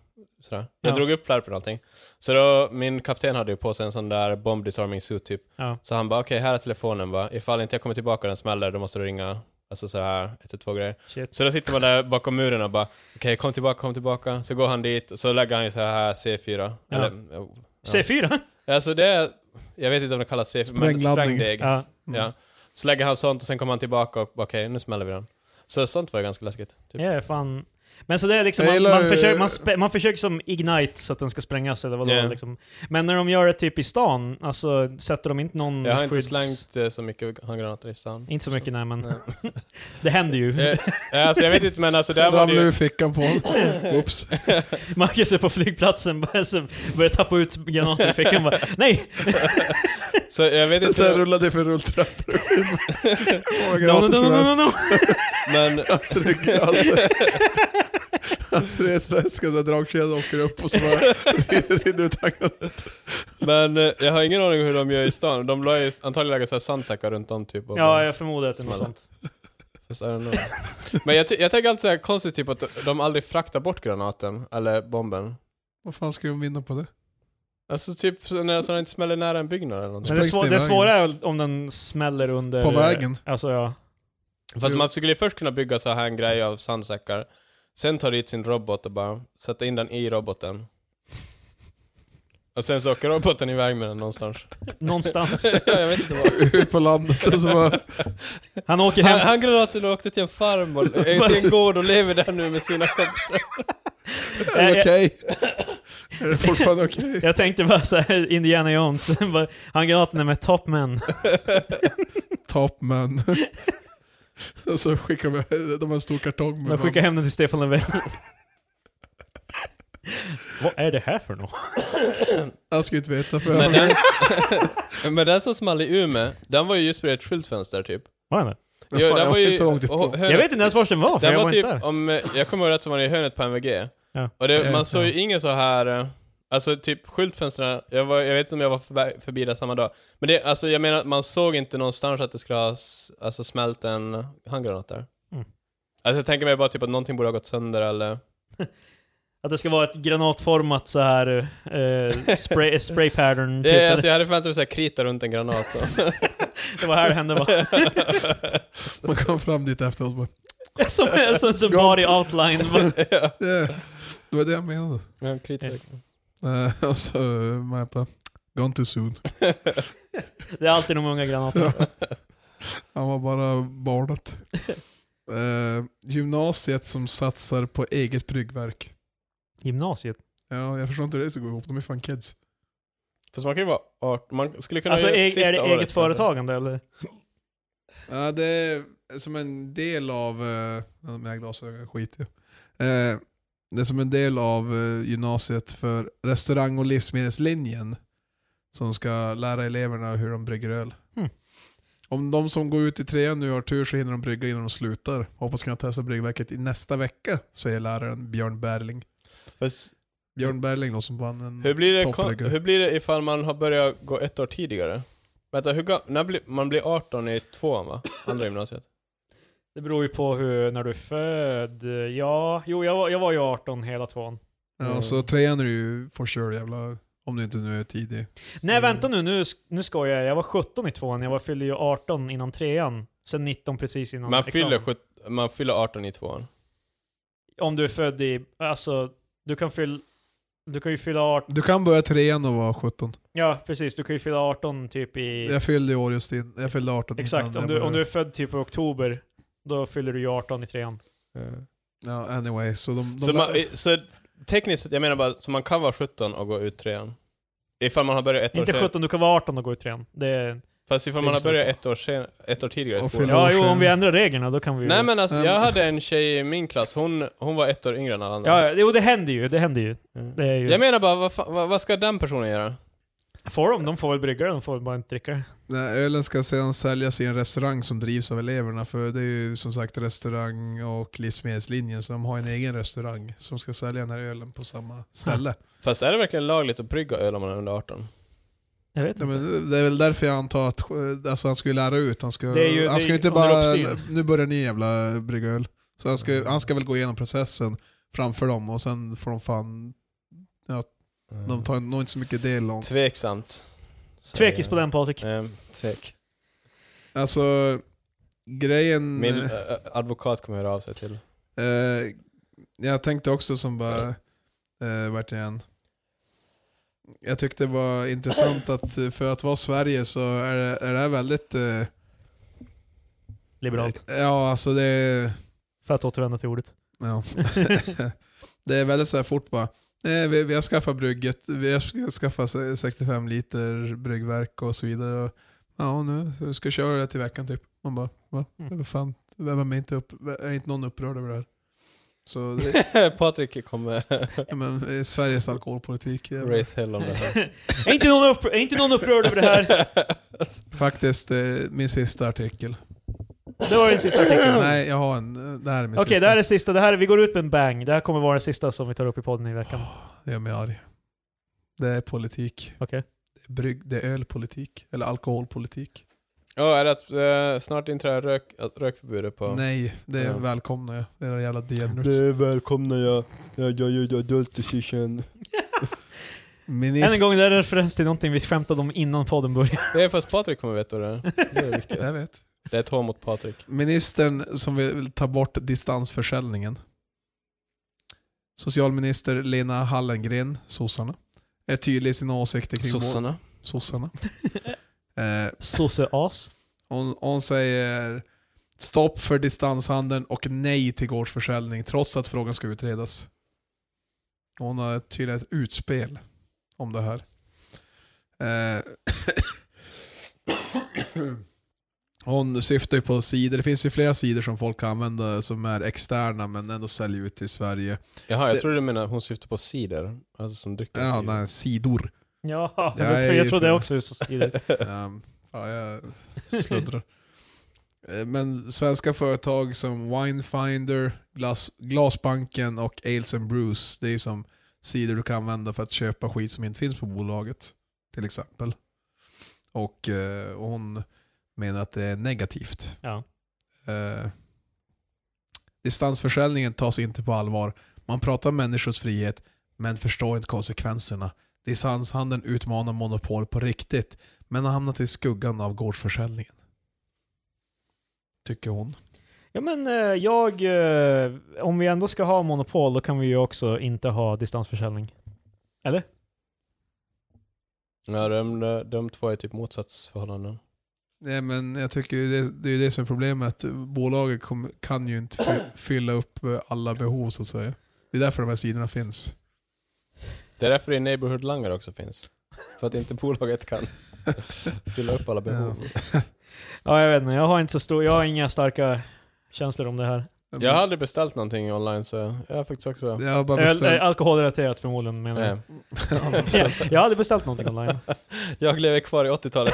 sådär. Jag Ja. drog upp flärpen och allting. Så då, min kapten hade ju på sig en sån där bomb disarming suit typ. Ja. Så han bara okej, här är telefonen va. Ifall inte jag kommer tillbaka och den smäller, då måste du ringa, alltså såhär 112 grejer. Shit. Så då sitter man där bakom muren och bara okej, kom tillbaka, kom tillbaka. Så går han dit och så lägger han ju så här C4. Ja. Eller, C4? ja. Alltså det är, jag vet inte om det kallas C4, men Sprängladdning. sprängdeg. Ja. Ja. Så lägger han sånt och sen kommer han tillbaka och bara, okej, nu smäller vi den. Så sånt var ju ganska läskigt. Typ. Ja, fan. Men så det är liksom, Jag man, gillar man, ju- försöker, man, spä- man försöker som ignite så att den ska sprängas eller vadå Ja. liksom. Men när de gör det typ i stan, alltså sätter de inte någon Jag har inte skydds... slängt eh, så mycket handgranater i stan. [laughs] Inte så mycket nej men. [laughs] det händer ju. Eh, alltså jag vet inte men alltså där var det Ramlade ur ju... fickan på honom. [laughs] Oops. Marcus är på flygplatsen, börjar, så börjar tappa ut granater i fickan bara, nej! Så [laughs] jag vet Sen inte, rullade det för rulltrappor. Hur No, många no, granater no, som no, no, helst. no. men... Alltså [laughs] det, alltså, alltså det är svenska så här dragkedjan åker upp och så bara rinner ut handgranater. Men eh, jag har ingen aning hur de gör i stan. De la ju antagligen lägga så här sandsäckar runt om typ. Och Ja, bara- jag förmodar att det är något Smälla. sånt. Fast I don't know. Men jag, ty- jag tänker alltid så här konstigt typ att de aldrig fraktar bort granaten, eller bomben. Vad fan ska de vinna på det? Alltså typ så när så den inte smäller nära en byggnad eller Men någonting. det, Sprängs svå- det i det vägen? svåra är väl om den smäller under... På vägen? Alltså ja. Fast man skulle ju först kunna bygga så här en grej av sandsäckar. Sen ta dit sin robot och bara sätta in den i roboten. Och sen så åker roboten iväg med den [laughs] någonstans. Någonstans. [laughs] jag vet inte vad. Ut på landet och så [laughs] bara... Han åker Han, hem. han granaten åkte till en farm och, eh, till en gård och lever där nu med sina kompisar. Är det okej? Är det fortfarande okej? Jag tänkte bara såhär, Indiana Jones. [laughs] Bara, han granaten är med top men. Top man. och så skickar de, de har en stor kartong De med skickar hem den till Stefan [laughs] Löfven. Vad är det här för något? Jag ska ju inte veta för Men jag den, men den [laughs] som small i Umeå, den var ju just bredvid ett skyltfönster typ. Vad är det? Ja, den jag var ju, är så långt ifrån. och- hö- Jag vet inte ens vart den var, för Den jag var var typ, inte där. om, eh, jag kommer ihåg rätt så var den i hörnet på MVG. Ja. Och det, Ja, man såg ju ja. inga så här, eh, alltså typ skyltfönstren, jag, var, jag vet inte om jag var förbi, förbi där samma dag. Men det, alltså jag menar, man såg inte någonstans att det skulle ha s- alltså, smält en handgranat där. Mm. Alltså jag tänker mig bara typ att någonting borde ha gått sönder eller... Att det ska vara ett granatformat så här eh, spray, [laughs] spray pattern. Typ. Det, alltså, jag hade förväntat mig såhär krita runt en granat så. [laughs] Det var här det [laughs] hände va? Man kom fram dit efteråt bara, Som, som, som body outline. va? ja, yeah. Det var det jag menade. [laughs] ja, krita. Eh, och så eh, man bara, gone too soon. Det är alltid de unga granaterna. Han var bara barnet. Eh, gymnasiet som satsar på eget bryggverk. Gymnasiet. Ja, jag förstår inte hur det ska gå ihop. De är fan kids. Fast man kan ju vara art, man skulle kunna Alltså göra e- sista är det året, eget kanske. företagande eller? Ja, det är som en del av... Uh, mina glasögon skit i. Eh, Det är som en del av eh, gymnasiet för restaurang och livsmedelslinjen. Som ska lära eleverna hur de brygger öl. Hmm. Om de som går ut i trean nu har tur så hinner de brygga innan de slutar. Hoppas kunna testa bryggverket i nästa vecka, säger läraren Björn Berling. Fast Björn Berling då som vann en... Hur blir, det, kon- Topplägger. hur blir det ifall man har börjat gå ett år tidigare? Vänta, hur ga- när blir, man blir 18 i tvåan va? Andra gymnasiet? Det beror ju på hur, när du är född. Ja, jo jag var, jag var ju 18 hela tvåan. Ja, så trean är ju for sure jävla... Om du inte nu är tidig. Nej vänta nu, nu, sk- nu skojar jag. Jag var 17 i tvåan, jag var, fyllde ju 18 innan trean. Sen 19 precis innan Man fyller, examen. sjut- man fyller 18 i tvåan. Om du är född i, alltså, du kan fylla, du kan ju fylla 18, Du kan börja trean och vara 17. Ja, precis. Du kan ju fylla 18 typ i... Jag fyllde i år just in, jag fyllde 18 Exakt, innan om jag du, om du är började. född typ i oktober, då fyller du ju 18 i trean. Eh, Ja, anyway, så de... de Så, man, i- så tekniskt sett, jag menar bara, så man kan vara 17 och gå ut trean. Ifall man har börjat ett år Inte senare. 17, du kan vara 18 och gå ut trean. Det är... Fast ifall man har Liksom. börjat ett år, sen, ett år tidigare i Och skolan. fyller- Ja, år jo, sedan. om vi ändrar reglerna då kan vi ju... Nej men alltså, Mm. jag hade en tjej i min klass, hon, hon var ett år yngre än alla andra. Ja, jo, det händer ju. Det händer ju. Mm. Det är ju... Jag menar bara, vad, fa- vad, vad ska den personen göra? Får de? De får väl brygga det, de får väl bara inte dricka det. Nej, ölen ska sedan säljas i en restaurang som drivs av eleverna, för det är ju som sagt restaurang och livsmedelslinjen, så de har en egen restaurang som ska sälja den här ölen på samma ställe. Fast är det verkligen lagligt att brygga öl om man är under 18? Jag vet Ja, inte. men det är väl därför jag antar att eh, alltså, han ska ju lära ut, han ska, Det är ju- han det ska är ju ju inte under bara uppsyn. nu börjar ni jävla brygga öl. Så han ska, Mm. han ska väl gå igenom processen framför dem och sen får de fan, de tar nog inte så mycket del om. Mm. Tveksamt. säger Tvekis på jag. den Patrik. Ehm, tvek. Alltså grejen... Min eh, eh, advokat kommer höra av sig [laughs] till. Eh, jag tänkte också som bara, eh, vart igen. Jag tyckte det var intressant att eh, för att vara Sverige så är det, är det här väldigt... Eh, Liberalt. ja, alltså det är... För att återvända till ordet. Ja. [laughs] det är väldigt så här fort bara. Nej, vi, vi har skaffat brygget, vi har sk- skaffat se- 65 liter bryggverk och så vidare. Och, ja, och nu så ska jag köra det till veckan typ. Man bara, va? Mm. Vad Fan, vem är inte, upp, är inte någon upprörd över det här? Så [laughs] det, Patrik kommer Ja, men eh, Sveriges alkoholpolitik. eh, race hell om [laughs] det här. [laughs] är, inte någon upp, är inte någon upprörd över det här? Faktiskt eh, min sista [clears throat] artikel. Det var den sista artikeln. Nej, jag har en. eh, Det här är min Okej, sista. det här är sista. Det här, vi går ut med en bang. Det här kommer vara den sista som vi tar upp i podden i veckan. Det gör mig arg. Det är politik. Okej. Det är, brygg, det är ölpolitik. Eller alkoholpolitik. [laughs] Ja, är det att eh, snart inträder rök, att rökförbudet på... Nej, det Ja. välkomnar jag. Det är de jävla djävulens. välkomnar jag. Jag gör adult decision. Än en Minister... gång, det här är en referens till någonting vi skämtade om innan podden började. Det är fast Patrik kommer veta det är. Det är [laughs] viktigt. Jag vet. Det är ett hån mot Patrik. Ministern som vill ta bort distansförsäljningen. Socialminister Lena Hallengren, sossarna, är tydlig i sina åsikter kring mål- sossarna. Eh, Sosse-as. Hon, hon säger stopp för distanshandeln och nej till gårdsförsäljning trots att frågan ska utredas. Hon har tydligen ett utspel om det här. Eh, [coughs] Hon syftar ju på sidor, det finns ju flera sidor som folk kan använda som är externa men ändå säljer ut i Sverige. Jaha, jag Det- trodde du menade hon syftar på cider. Alltså som drycker Ja, cider. nej, sidor. Ja, Ja, jag, tror, jag- jag tror det också. Så [laughs] skriver. Ehm, ja, jag [laughs] sluddrar. Eh, Men svenska företag som Winefinder, Glas, Glasbanken och Ales and Brews, det är ju som sidor du kan använda för att köpa skit som inte finns på bolaget. Till exempel. Och eh, hon menar att det är negativt. Ja. Eh, distansförsäljningen tas inte på allvar. Man pratar om människors frihet, men förstår inte konsekvenserna. Distanshandeln utmanar monopol på riktigt, men har hamnat i skuggan av gårdsförsäljningen. Tycker hon. Ja men eh, jag, eh, om vi ändå ska ha monopol då kan vi ju också inte ha distansförsäljning. Ja, de, de, de två är typ motsatsförhållanden. Nej men jag tycker ju det, det är ju det som är problemet. Bolaget kom, kan ju inte fy- fylla upp eh, alla behov så att säga. Det är därför de här sidorna finns. Det är därför det är neighborhood langar också finns. För att inte [laughs] bolaget kan fylla upp alla behov. Ja jag vet inte, jag har inte så stor, jag har inga starka känslor om det här. Jag har aldrig beställt någonting online så jag har faktiskt också... Jag har bara Öl, eh, beställt... alkoholrelaterat förmodligen menar jag. Nej. Jag har Ja, [laughs] beställt. jag hade beställt någonting online. Jag lever kvar [laughs] i 80-talet.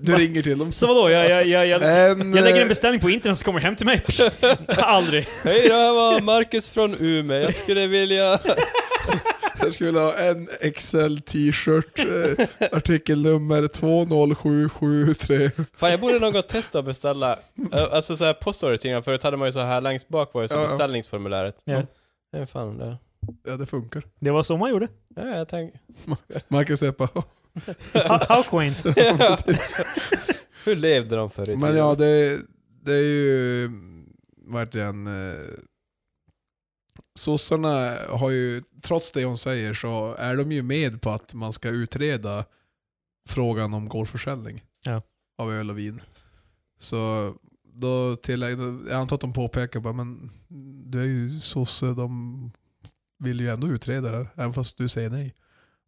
Du ringer till dem. Så vadå, jag, jag, jag, jag, En, jag lägger en eh, beställning på internet så kommer det hem till mig. Aldrig. [laughs] Hej, det här var Marcus från Umeå. Jag skulle vilja... Jag skulle vilja ha en Excel t-shirt, eh, artikelnummer 20773. Fan, jag borde någon gång testa att beställa. Eh, Alltså så här postordertidningar, förut hade man ju så här längst bak var ju så Ja, ja. beställningsformuläret. Ja. Det är fan det. Ja, det funkar. Det var så man gjorde. Ja, [laughs] jag [laughs] tänker... Marcus säger bara, How, how quaint. Ja. precis. Hur levde de förr i tiden? Men ja, det, det är ju verkligen eh, sossarna har ju, trots det hon säger, så är de ju med på att man ska utreda frågan om gårdsförsäljning Ja. av öl och vin. Så då tillägger, jag antar att de påpekar bara, men du är ju sosse, de vill ju ändå utreda det här, även fast du säger nej.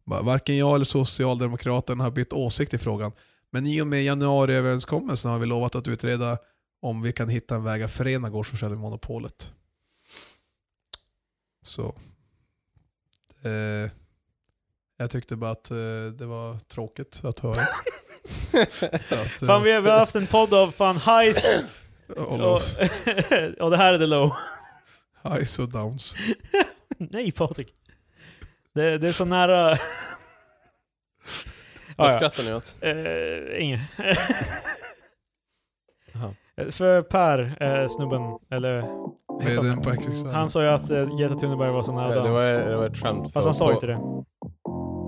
Bara, Varken jag eller Socialdemokraterna har bytt åsikt i frågan. Men i och med januariöverenskommelsen har vi lovat att utreda om vi kan hitta en väg att förena gårdsförsäljning med monopolet. Så. Eh, jag tyckte bara att eh, det var tråkigt att höra. att, eh, Fan vi har, vi har haft en podd av fan highs och och, low. och [laughs] det här är the low. Highs och downs. Nej Patrik. Det, det är så nära... [laughs] Vad Ah, ja. skrattar ni åt? Eh, Inget. Jaha. [laughs] För Per, eh, snubben, eller... vad heter Vdn på XXL. Han sa ju att eh, Greta Thunberg var så nära Det, det, dans. var, det var ett skämt. Fast han sa ju inte det.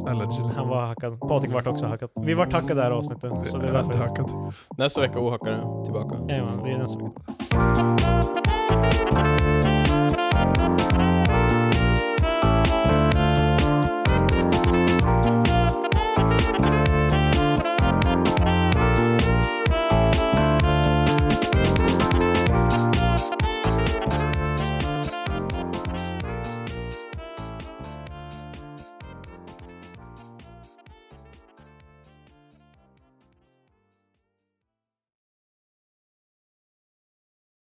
Allegedly. Han var hackad. Patrik vart också hackad. Vi vart hackade det här avsnittet. Så det är Jag har inte därför. hackat. Nästa vecka ohackar jag tillbaka. Jajamän, det är nästa vecka. Thank